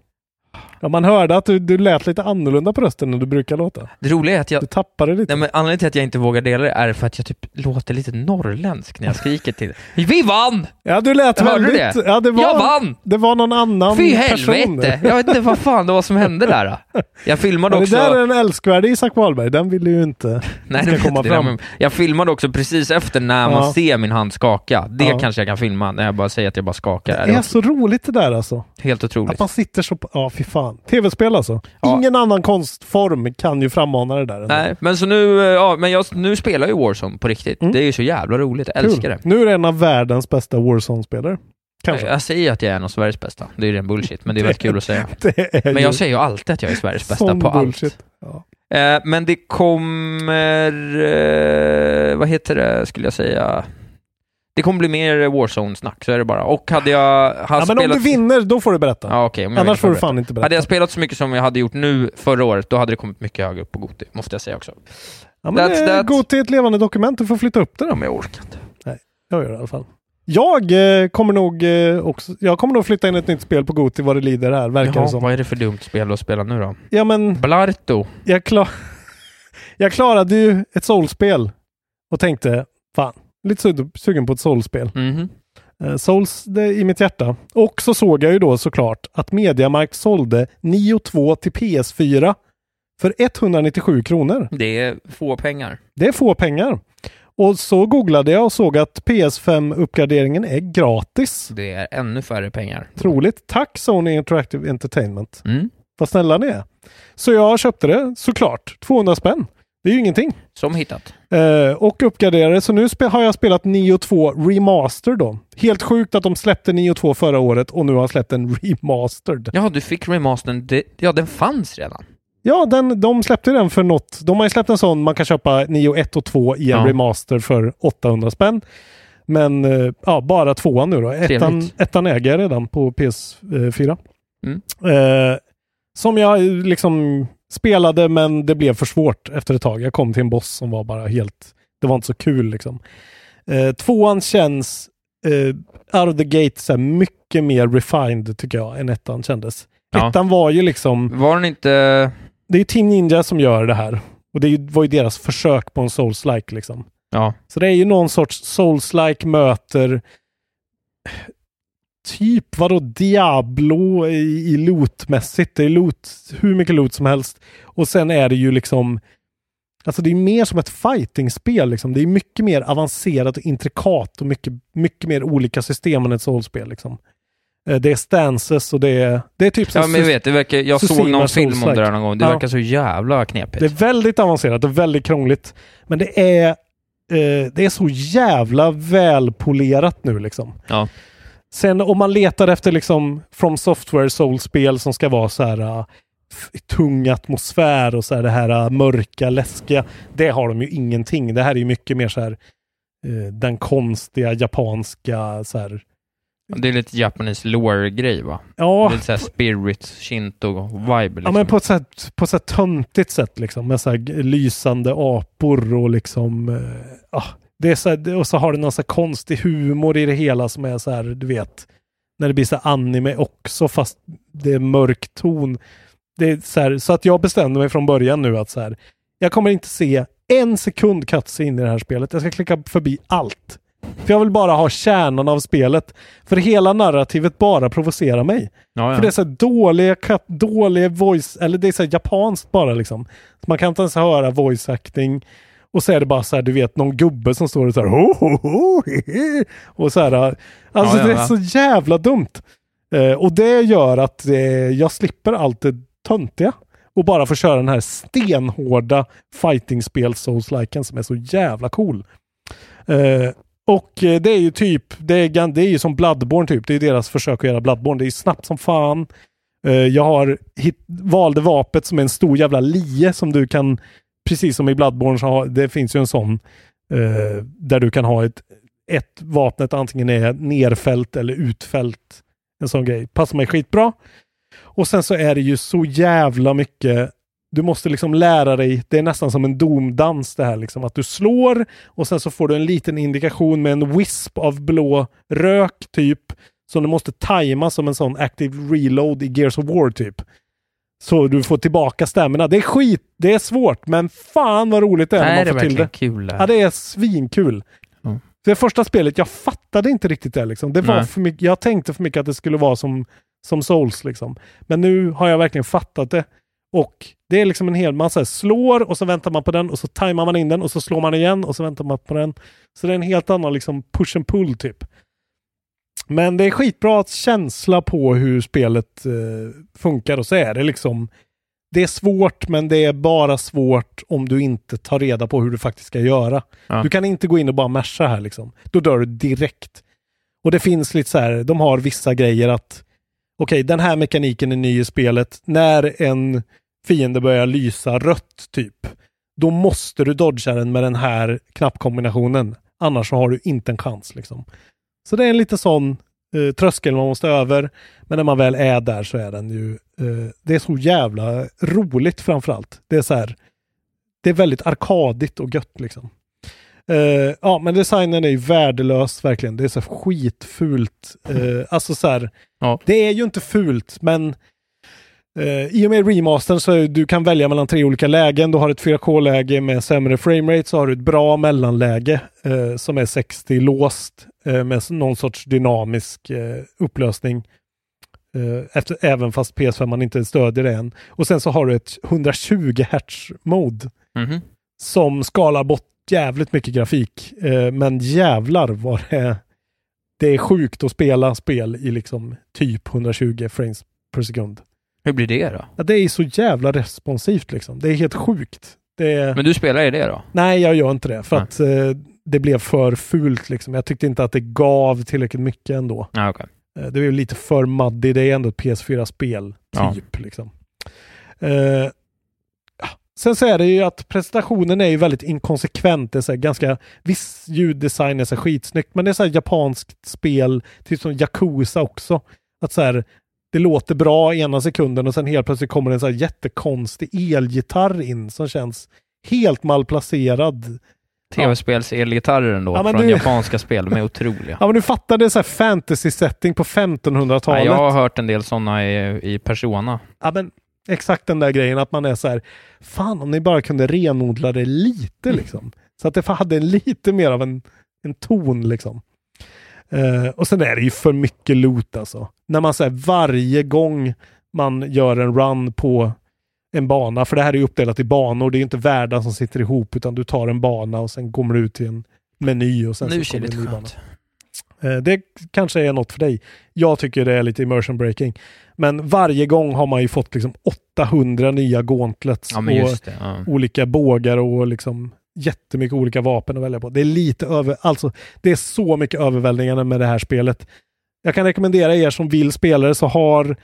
S5: Ja, man hörde att du, du lät lite annorlunda på rösten än du brukar låta.
S2: Det roliga är att jag...
S5: Du tappade lite.
S2: Nej, men anledningen till att jag inte vågar dela det är för att jag typ låter lite norrländsk när jag skriker till Vi vann!
S5: Ja, du lät
S2: Hörde du
S5: väldigt...
S2: det?
S5: Ja, det var,
S2: Jag vann!
S5: Det var någon annan
S2: Fy
S5: person.
S2: helvete! Jag vet inte vad fan det var som hände där. då. Jag filmade
S5: Ja, det
S2: också...
S5: där är en älskvärd Isak Wahlberg. Den vill ju inte
S2: Nej,
S5: ska
S2: det vet
S5: komma
S2: inte jag,
S5: fram.
S2: men Jag filmade också precis efter när man
S5: Ja.
S2: ser min hand skaka. Det
S5: Ja.
S2: kanske jag kan filma när jag bara säger att jag bara skakar.
S5: Det
S2: Det
S5: är
S2: var
S5: så roligt det där alltså.
S2: helt
S5: Att
S2: otroligt.
S5: man sitter så... på- Ja, fy fan. fan. Tv-spel alltså.
S4: Ja.
S5: Ingen annan konstform kan ju frammana det där. ändå.
S4: Nej, men så nu, eh, ja, men jag, nu spelar ju Warzone på riktigt. Det är ju så jävla roligt. Jag
S5: Mm. Kul.
S4: älskar det.
S5: Nu är det en av världens bästa Warzone-spelare. Kanske.
S4: Jag säger att jag är en av Sveriges bästa. Det är ju ren bullshit, men det är väldigt kul att säga.
S5: Det är
S4: Men jag
S5: ju
S4: säger ju alltid att jag är Sveriges bästa
S5: sån
S4: på allt.
S5: bullshit. Ja.
S4: Eh, Men det kommer, eh, vad heter det, skulle jag säga? Det kommer bli mer Warzone-snack, så är det bara. Och hade jag... Hade
S5: Ja, men om
S4: spelat...
S5: du vinner, då får du berätta.
S4: Ja, okej, om jag vinner
S5: Annars får du
S4: jag berätta.
S5: fan inte berätta.
S4: Hade jag spelat så mycket som jag hade gjort nu förra året, då hade det kommit mycket högre upp på Goti, måste jag säga också.
S5: Ja, men
S4: That's
S5: eh,
S4: that.
S5: Gå till ett levande dokument, du får flytta upp det då.
S4: Men jag orkar inte.
S5: Jag gör det i alla fall. Jag eh, kommer nog eh, också, jag kommer nog flytta in ett nytt spel på Goti vad det lider här, verkar det
S4: Jaha,
S5: som.
S4: vad är det för dumt spel att spela nu då?
S5: Ja men,
S4: Blarto.
S5: jag, klar... jag klarade ju ett soulspel och tänkte, fan, lite sug- sugen på ett soulspel.
S4: Mhm.
S5: Eh, Souls det, är i mitt hjärta. Och så såg jag ju då såklart att Mediamarkt sålde 9.2 till PS4 för 197 kronor.
S4: Det är få pengar.
S5: Det är få pengar. Och så googlade jag och såg att PS5-uppgraderingen är gratis.
S4: Det är ännu färre pengar.
S5: Troligt. Tack Sony Interactive Entertainment.
S4: Mm.
S5: Vad snälla ni är. Så jag köpte det såklart. 200 spänn. Det är ju ingenting.
S4: Som hittat.
S5: Eh, och uppgraderade. Så nu spe- har jag spelat 9.2 Remaster då. Helt sjukt att de släppte 9.2 förra året och nu har släppt en Remastered.
S4: Ja, du fick remastern. Det, ja, den fanns redan.
S5: Ja, den, de släppte den för något. De har ju släppt en sån man kan köpa 9.1 och 2 i en
S4: Ja.
S5: remaster för 800 spänn. Men eh, ja, bara tvåan nu då. Ettan,
S4: Trevligt.
S5: ettan äger jag redan på PS4.
S4: Mm.
S5: Eh, som jag eh, liksom spelade men det blev för svårt efter ett tag. Jag kom till en boss som var bara helt... Det var inte så kul liksom. Eh, tvåan känns eh, out of the gate så här, mycket mer refined tycker jag än ettan kändes.
S4: Ja.
S5: Ettan var ju liksom
S4: Var den inte...
S5: det är ju Team Ninja som gör det här. Och det är ju- var ju deras försök på en Souls-like liksom.
S4: Ja.
S5: Så det är ju någon sorts Souls-like möter typ vadå Diablo i, i loot-mässigt. Det är loot, hur mycket loot som helst. Och sen är det ju liksom Alltså det är mer som ett fighting-spel. Liksom. Det är mycket mer avancerat och intrikat och mycket, mycket mer olika system än ett Souls-spel. Liksom. Eh, Det är stances och det är... Det är typ så
S4: Ja, men jag vet. Det verkar, jag
S5: så
S4: såg
S5: Sigma
S4: någon film om det
S5: Solsverk.
S4: där någon gång. Det
S5: Ja.
S4: verkar så jävla knepigt.
S5: Det är väldigt avancerat och väldigt krångligt. Men det är, eh, det är så jävla välpolerat nu liksom.
S4: Ja.
S5: Sen om man letar efter liksom From Software Soul-spel som ska vara så här eh, f- tung atmosfär och så här det här eh, mörka, läskiga. Det har de ju ingenting. Det här är ju mycket mer så här eh, den konstiga japanska så här.
S4: Det är lite Japanese lore-grej va?
S5: Ja,
S4: Lite såhär spirit, shinto-vibe liksom.
S5: Ja, men på ett, så här, på ett så här töntigt sätt liksom. Med så här g- lysande apor och liksom... eh, ja, det är så här, och så har det någon så här konstig humor i det hela som är så här, du vet. När det blir så här anime också fast det är mörk ton. Det är så, här, så att jag bestämde mig från början nu att så här, jag kommer inte se en sekund katse in i det här spelet. Jag ska klicka förbi allt. För jag vill bara ha kärnan av spelet. För hela narrativet bara provocerar mig.
S4: ja, ja.
S5: För det är så här dåliga, cut- dåliga voice, eller det är så här japanskt bara liksom. Så man kan inte ens höra voice acting. Och så är det bara så här, du vet, någon gubbe som står och så här ho, ho, ho, he, he. Och så här, alltså
S4: ja,
S5: det
S4: ja.
S5: är så jävla dumt. Eh, och det gör att eh, jag slipper allt det töntiga. Och bara får köra den här stenhårda fighting-spel Souls-liken som är så jävla cool. Eh, och eh, det är ju typ, det är, gan- det är ju som Bloodborne typ. Det är ju deras försök att göra Bloodborne. Det är ju snabbt som fan. Eh, jag har hit, valde vapet som är en stor jävla lie som du kan, precis som i Bloodborne, så har, det finns ju en sån eh, där du kan ha ett, ett vapnet antingen är nerfällt eller utfällt. En sån grej. Passar mig skitbra. Och sen så är det ju så jävla mycket du måste liksom lära dig, det är nästan som en domdans det här liksom, att du slår och sen så får du en liten indikation med en wisp av blå rök typ, som du måste tajma som en sån active reload i Gears of War typ. Så du får tillbaka stämmorna. Det är skit, det är svårt, men fan vad roligt det är när
S4: Nej,
S5: man
S4: det är
S5: får till
S4: verkligen
S5: det.
S4: kul det
S5: Ja,
S4: här.
S5: det är svinkul.
S4: Mm.
S5: Det första spelet, jag fattade inte riktigt det. Liksom. det var
S4: Nej.
S5: för mycket, jag tänkte för mycket att det skulle vara som, som Souls. Liksom. Men nu har jag verkligen fattat det. Och det är liksom en hel massa slår och så väntar man på den och så tajmar man in den och så slår man igen och så väntar man på den. Så det är en helt annan liksom push and pull typ. Men det är skitbra känsla på hur spelet eh, funkar och så är det liksom det är svårt, men det är bara svårt om du inte tar reda på hur du faktiskt ska göra.
S4: Ja.
S5: Du kan inte gå in och bara masha här liksom. Då dör du direkt. Och det finns lite så här, de har vissa grejer att okej, den här mekaniken är ny i spelet. När en fiende börjar lysa rött typ, då måste du dodga den med den här knappkombinationen. Annars så har du inte en chans liksom. Så det är en lite sån eh, tröskel man måste över. Men när man väl är där så är den ju... Eh, det är så jävla roligt framförallt. Det är så här... Det är väldigt arkadigt och gött liksom. Eh, ja, men designen är ju värdelös verkligen. Det är så här skitfult. Eh, alltså så här... Det är ju inte fult, men Eh, I och med remastern så är- du kan välja mellan tre olika lägen. Du har ett 4K-läge med sämre framerate, så har du ett bra mellanläge eh, som är 60 låst eh, med någon sorts dynamisk eh, upplösning. Eh, efter, även fast PS5 man inte stödjer det än. Och sen så har du ett 120 Hz-mode
S4: Mhm.
S5: som skalar bort jävligt mycket grafik. Eh, men jävlar vad det är. Det är sjukt att spela spel i liksom typ 120 frames per sekund.
S4: Hur blir det då?
S5: Ja, det är så jävla responsivt liksom. Det är helt sjukt. Det är...
S4: Men du spelar i det då?
S5: Nej, jag gör inte det. För att eh, det blev för fult liksom. Jag tyckte inte att det gav tillräckligt mycket ändå.
S4: Ja, okej.
S5: Eh, det var ju lite för muddy. Det är ändå ett PS4-spel,
S4: Ja.
S5: typ. Liksom. Eh, ja. sen så är det ju att presentationen är ju väldigt inkonsekvent. Det är så här ganska, viss ljuddesign är så här skitsnyggt, men det är så här japanskt spel, typ som Yakuza också. Att så här, det låter bra ena sekunden och sen helt plötsligt kommer en så här jättekonstig elgitarr in som känns helt malplacerad.
S4: Tv-spels elgitarrer ändå,
S5: Ja, men
S4: från
S5: du-
S4: japanska spel. De är otroliga.
S5: Ja men du fattar, det är så här fantasy-setting på 1500-talet.
S4: Ja, jag har hört en del sådana i, i Persona.
S5: Ja, men exakt den där grejen att man är så här, fan om ni bara kunde renodla det
S4: Mm.
S5: lite liksom. Så att det hade lite mer av en, en ton liksom. Eh, och sen är det ju för mycket loot alltså. När man säger varje gång man gör en run på en bana, för det här är ju uppdelat i banor, det är ju inte världar som sitter ihop utan du tar en bana och sen kommer du ut till en meny och sen
S4: Nu
S5: så
S4: ser det
S5: kommer
S4: lite
S5: en ny bana.
S4: skönt.
S5: Eh, Det kanske är något för dig. Jag tycker det är lite immersion breaking. Men varje gång har man ju fått liksom 800 nya gauntlets
S4: Ja, men
S5: och
S4: just det. Ja.
S5: olika bågar och liksom jättemycket olika vapen att välja på. Det är lite över, alltså det är så mycket överväldigande med det här spelet. Jag kan rekommendera er som vill spela det så har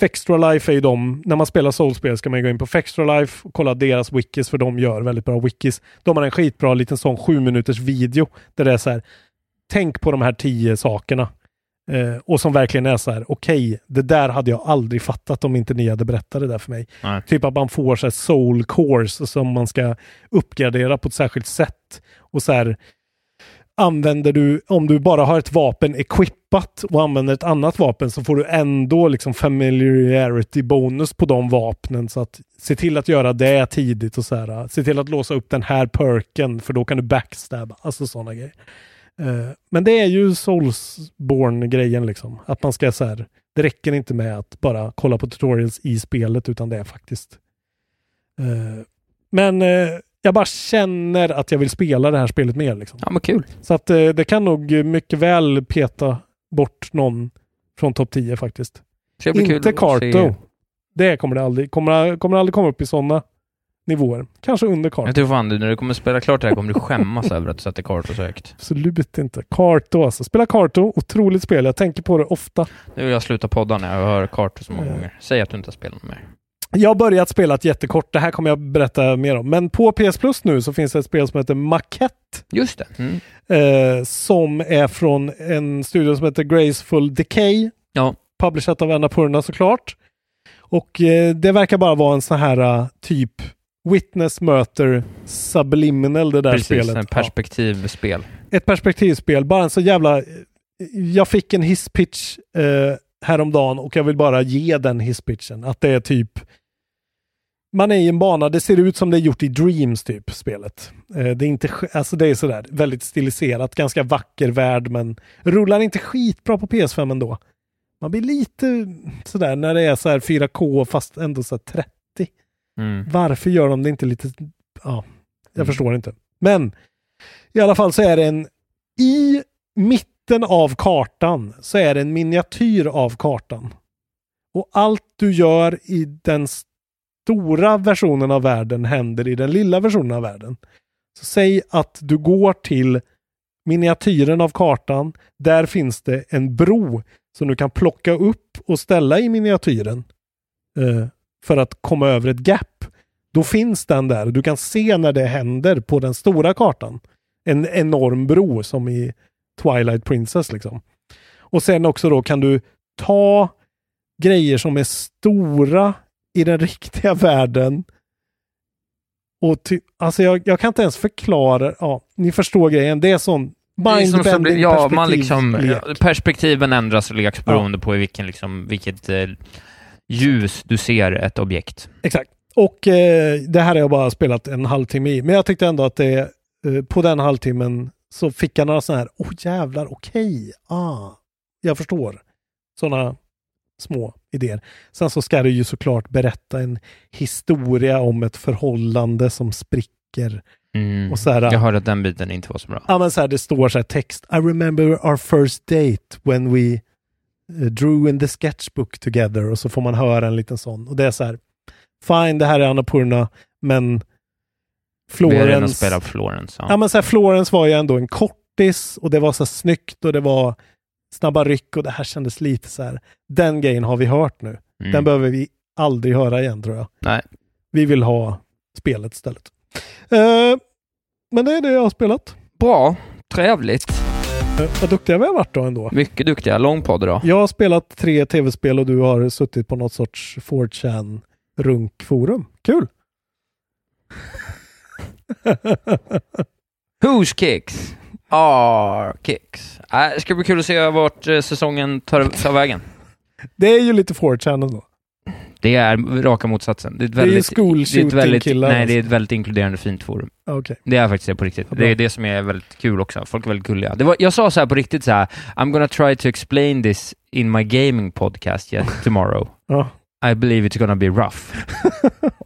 S5: Fextra Life är ju de, när man spelar Soulspel ska man ju gå in på Fextra Life och kolla deras wikis för de gör väldigt bra wikis. De har en skitbra liten sån sju minuters video där det är så här, tänk på de här tio sakerna. Eh, och som verkligen är så här, okej, det där hade jag aldrig fattat om inte ni hade berättat det där för mig.
S4: Nej.
S5: Typ att man får så här soul cores som man ska uppgradera på ett särskilt sätt. Och så här, använder du, om du bara har ett vapen equippat och använder ett annat vapen så får du ändå liksom familiarity bonus på de vapnen. Så att se till att göra det tidigt och så här, se till att låsa upp den här perken för då kan du backstabba. Alltså sådana grejer. Eh, Men det är ju Soulsborne-grejen liksom. Att man ska så här, det räcker inte med att bara kolla på tutorials i spelet utan det är faktiskt... eh, Men eh, jag bara känner att jag vill spela det här spelet mer liksom.
S4: Ja, men kul.
S5: Så att eh, det kan nog mycket väl peta bort någon från topp 10 faktiskt.
S4: Så det blir kul
S5: Inte
S4: att se-
S5: Carto. Det kommer det aldrig. Kommer, kommer aldrig komma upp i sådana nivåer. Kanske under Carto.
S4: Jag tror fan du, när du kommer spela klart det här kommer du skämmas över att du sätter kart och sökt.
S5: Absolut inte. Carto alltså. Spela Carto. Otroligt spel. Jag tänker på det ofta.
S4: Nu vill jag sluta podda när jag hör kart så många gånger. Säg att du inte har spelat mer.
S5: Jag har börjat spela ett jättekort. Det här kommer jag berätta mer om. Men på PS Plus nu så finns det ett spel som heter Maquette.
S4: Just det. Mm.
S5: eh, som är från en studio som heter Graceful Decay.
S4: Ja.
S5: Publishat av Annapurna såklart. Och eh, det verkar bara vara en sån här eh, typ Witness möter Subliminal det där
S4: Precis,
S5: spelet.
S4: en perspektivspel.
S5: Ja. Ett perspektivspel, bara en så jävla... eh, Jag fick en hisspitch eh, häromdagen och jag vill bara ge den hisspitchen. Att det är typ man är i en bana, det ser ut som det är gjort i Dreams typ, spelet. Eh, det, är inte, sk- alltså det är sådär väldigt stiliserat, ganska vacker värld men rullar inte skitbra på PS5 ändå. Man blir lite sådär när det är så här 4K fast ändå så här 30.
S4: Mm.
S5: Varför gör de det inte lite, ja, jag
S4: Mm.
S5: förstår inte. Men i alla fall så är det en, i mitten mitten av kartan så är det en miniatyr av kartan. Och allt du gör i den stora versionen av världen händer i den lilla versionen av världen. Så säg att du går till miniatyren av kartan. Där finns det en bro som du kan plocka upp och ställa i miniatyren eh, för att komma över ett gap. Då finns den där. Du kan se när det händer på den stora kartan. En enorm bro som i Twilight Princess liksom. Och sen också då kan du ta grejer som är stora i den riktiga världen. Och ty, alltså jag, jag kan inte ens förklara. Ja, ni förstår grejen. Det är sån mindbending
S2: ja, man liksom, Perspektiven ändras och leks beroende på i vilken, liksom, vilket eh, ljus du ser ett objekt.
S5: Exakt. Och eh, det här har jag bara spelat en halvtimme i. Men jag tyckte ändå att det, eh, på den halvtimmen så fick jag några sådana här, oh jävlar, okej, ah, jag förstår. Sådana små idéer. Sen så ska det ju såklart berätta en historia om ett förhållande som spricker.
S2: Mm.
S5: Och så här,
S2: jag hörde att den biten inte var så bra.
S5: Ja, men så här, det står så här text. I remember our first date when we eh, drew in the sketchbook together. Och så får man höra en liten sån. Och det är så här, fine, det här är Annapurna, men
S2: Vi har redan
S5: Florens...
S2: spelat Florence. Ja.
S5: Ja, men så här, Florens var ju ändå en kortis och det var så här snyggt och det var snabba ryck och det här kändes lite så här. Den grejen har vi hört nu.
S2: Mm.
S5: Den behöver vi aldrig höra igen tror jag.
S2: Nej.
S5: Vi vill ha spelet istället. Eh, men det är det jag har spelat.
S4: Bra. Trevligt.
S5: Eh, vad duktiga vi har varit då ändå.
S4: Mycket duktiga. Lång podd idag.
S5: Jag har spelat tre tv-spel och du har suttit på något sorts 4chan runkforum. Kul!
S4: Who's kicks? Our kicks. Äh, det ska bli kul att se vart eh, säsongen tar, tar vägen.
S5: Det är ju lite 4chan ändå.
S2: Det är raka motsatsen. Det är ett
S5: Det är ju
S2: väldigt,
S5: school
S2: det är ett väldigt,
S5: shooting-killar,
S2: Nej, det är ett väldigt inkluderande fint forum.
S5: Ah, Okej.
S2: Det är faktiskt det på riktigt.
S5: Vad bra.
S2: Det är det som är väldigt kul också. Folk är väldigt gulliga. Det var, jag sa så här på riktigt så här, I'm gonna try to explain this in my gaming podcast yet tomorrow.
S5: Ja.
S2: I believe it's gonna be rough.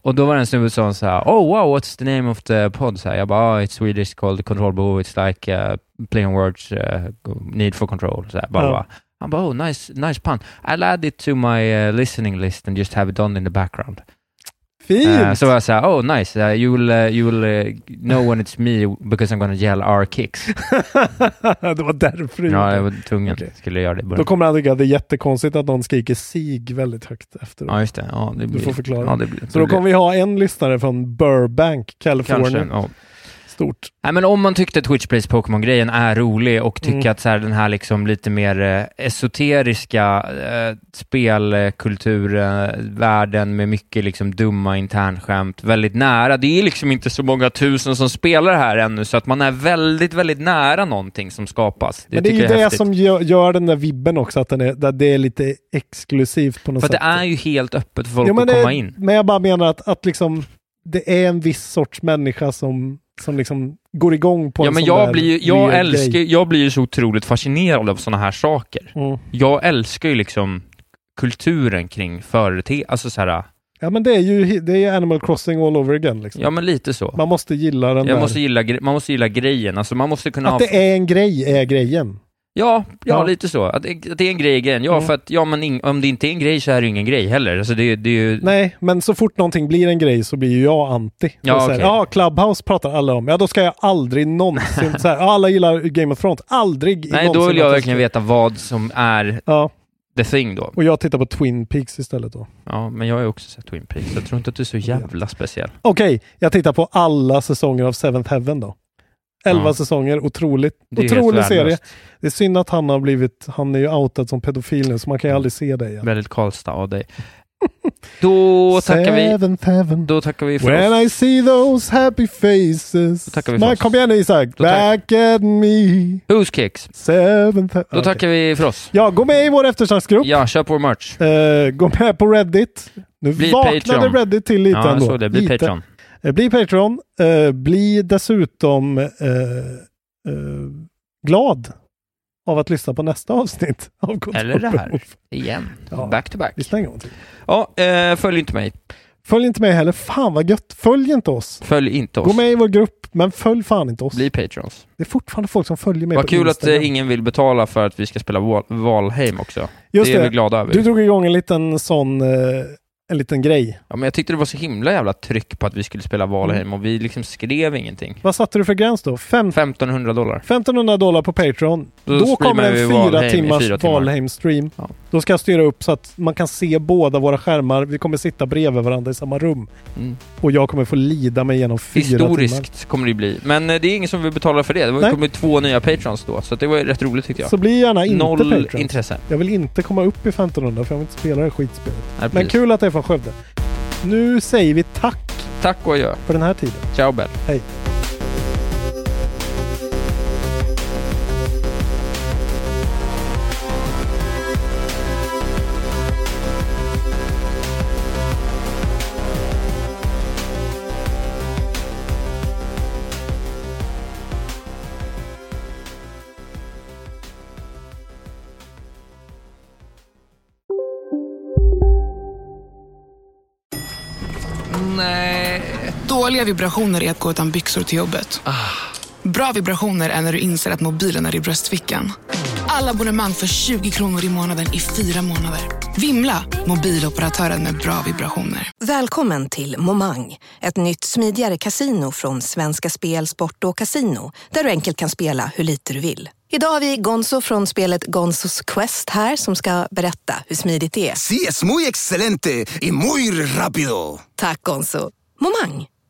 S2: och då var det en snubbe som sa Oh wow, what's the name of the pod? Så här, jag bara, oh, it's Swedish called Kontrollbehov, it's like uh, playing words, uh, need for control. Så här, bara,
S5: Ja.
S2: bara. Han bara, oh nice, nice pun. I'll add it to my uh, listening list and just have it on in the background.
S5: Fint!
S2: Eh, så var jag såhär, oh nice, uh, you will, uh, you will uh, know when it's me because I'm gonna yell our kicks.
S5: det var därför du
S2: ja,
S5: gjorde
S2: jag
S5: det.
S2: var tvungen.
S5: Okej.
S2: Skulle göra det i början.
S5: Då kommer han tycka att det är jättekonstigt att någon skriker sig väldigt högt efteråt.
S2: Ja, just det. Ja, det blir,
S5: får förklara.
S2: Ja, det blir,
S5: Så då kommer vi ha en lyssnare från Burbank, Kalifornien.
S2: Kanske, ja.
S5: Stort.
S2: Nej, men om man tyckte Twitch Plays Pokémon-grejen är rolig och tycker
S5: Mm.
S2: att så här, den här liksom lite mer eh, esoteriska eh, spelkulturvärlden med mycket liksom dumma internskämt väldigt nära. Det är liksom inte så många tusen som spelar här ännu, så att man är väldigt, väldigt nära någonting som skapas.
S5: Men det är
S2: tycker
S5: ju
S2: jag
S5: det
S2: häftigt.
S5: som gör, gör den där vibben också, att den är, där det är lite exklusivt på något
S2: För att
S5: sätt.
S2: det är ju helt öppet för folk
S5: Jo, men
S2: att
S5: det-
S2: komma in.
S5: Men jag bara menar att, att liksom, det är en viss sorts människa som, som liksom går igång på
S2: Ja,
S5: en
S2: men
S5: sån
S2: jag,
S5: där
S2: blir ju, jag,
S5: weird
S2: älskar,
S5: grej.
S2: jag blir ju så otroligt fascinerad av sådana här saker.
S5: Mm.
S2: Jag älskar ju liksom kulturen kring företeelser, alltså så här,
S5: Ja, men det är ju det är ju Animal Crossing all over again. Liksom.
S2: ja men lite så.
S5: Man måste gilla den
S2: Jag
S5: där.
S2: måste gilla, gre- man måste gilla grejen, alltså man måste kunna
S5: Att
S2: ha...
S5: det är en grej är grejen.
S2: Ja, ja,
S5: Ja.
S2: lite så. Att det, att det är en grej i grejen. Ja,
S5: Mm.
S2: för att, ja men ing, om det inte är en grej så är det ju ingen grej heller. Alltså det, det är ju...
S5: Nej, men så fort någonting blir en grej så blir ju jag anti.
S2: Ja,
S5: Och så här,
S2: okej.
S5: ja, Clubhouse pratar alla om. Ja, då ska jag aldrig någonsin... så här, ja, alla gillar Game of Thrones. Aldrig
S2: Nej,
S5: någonsin
S2: då vill jag
S5: att
S2: verkligen
S5: ska-
S2: veta vad som är
S5: Ja,
S2: the thing då.
S5: och jag tittar på Twin Peaks istället då.
S2: Ja, men jag har ju också sett Twin Peaks. Jag tror inte att du är så jävla speciell.
S5: Okej, jag tittar på alla säsonger av Seventh Heaven då. Elva
S2: Ja.
S5: säsonger, otroligt.
S2: Det är helt
S5: Otrolig
S2: värdelöst.
S5: serie. Det är synd att han har blivit, han är ju outad som pedofil nu så man kan ju aldrig se det igen.
S2: Väldigt Karlstad av dig. Då tackar vi,
S5: Seventh Heaven.
S2: då tackar vi för oss.
S5: When I see those happy faces.
S2: tackar vi för
S5: Nej,
S2: oss.
S5: kom igen nu Isak.
S2: Då tack-
S5: Back at me.
S2: Who's Kicks?
S5: Seventh Heaven.
S2: Då tackar vi för oss.
S5: Ja, gå med i vår eftersnacksgrupp.
S2: Ja, köp vår merch.
S5: Eh, gå med på Reddit. Nu
S2: Bli
S5: vaknade
S2: Patreon.
S5: Reddit till lite
S2: Ja, jag
S5: ändå.
S2: såg det. Bli
S5: lite.
S2: Patreon.
S5: Eh, Bli Patreon. Eh, bli dessutom eh, eh, glad av att lyssna på nästa avsnitt av
S2: Eller det här.
S5: Kontrollbehov.
S2: Igen.
S5: Ja.
S2: Back to back.
S5: Lyssna en gång till.
S2: Ja, eh, följ inte mig.
S5: Följ inte mig heller. Fan vad gött. Följ inte oss.
S4: Följ inte oss.
S5: Gå med i vår grupp, men följ fan inte oss.
S4: Bli patrons.
S5: Det är fortfarande folk som följer med
S4: Vad
S5: på
S4: kul att
S5: Instagram.
S4: eh, ingen vill betala för att vi ska spela Val- Valheim också.
S5: Just
S4: det är
S5: det.
S4: vi glada över.
S5: Du drog igång en liten sån, eh, en liten grej. Mm.
S4: Ja, men jag tyckte det var så himla jävla tryck på att vi skulle spela Valheim och vi liksom skrev ingenting.
S5: Vad satte du för gräns då? Fem,
S4: 1500 dollar.
S5: 1500 dollar på Patreon.
S4: Då
S5: Då,
S4: streamar
S5: kommer
S4: vi
S5: en
S4: Valheim i
S5: fyra timmars
S4: fyra timmar.
S5: Valheim-stream. Då ska jag styra upp så att man kan se båda våra skärmar. Vi kommer sitta bredvid varandra i samma rum.
S4: Mm.
S5: Och jag kommer få lida mig genom fyra timmar.
S4: Historiskt kommer det bli. Men eh, det är ingen som vill betala för det. Det var-
S5: Nej.
S4: kommer bli två nya patrons då, så att det var ju rätt roligt tyckte jag.
S5: Så bli gärna inte
S4: Noll
S5: Patreon.
S4: intresse.
S5: Jag vill inte komma upp i 1500 för jag vill inte spela det här skitspelet.
S4: Nej,
S5: Men
S4: precis.
S5: kul att det är från Skövde. Nu säger vi tack
S4: Tack och adjö.
S5: för den här tiden.
S4: Ciao Bell.
S5: Hej.
S8: Nej. Dåliga vibrationer är att gå utan byxor till jobbet.
S4: Ah.
S8: Bra vibrationer är när du inser att mobilen är i bröstfickan. Alla abonnemang för 20 kronor i månaden i fyra månader. Vimla! Mobiloperatören med bra vibrationer.
S9: Välkommen till Momang, ett nytt smidigare casino från Svenska Spel, Sport och Casino, där du enkelt kan spela hur lite du vill. Idag har vi Gonzo från spelet Gonzos Quest här som ska berätta hur smidigt det är.
S10: Sí, es muy excelente y muy rápido.
S9: Tack Gonzo! Momang,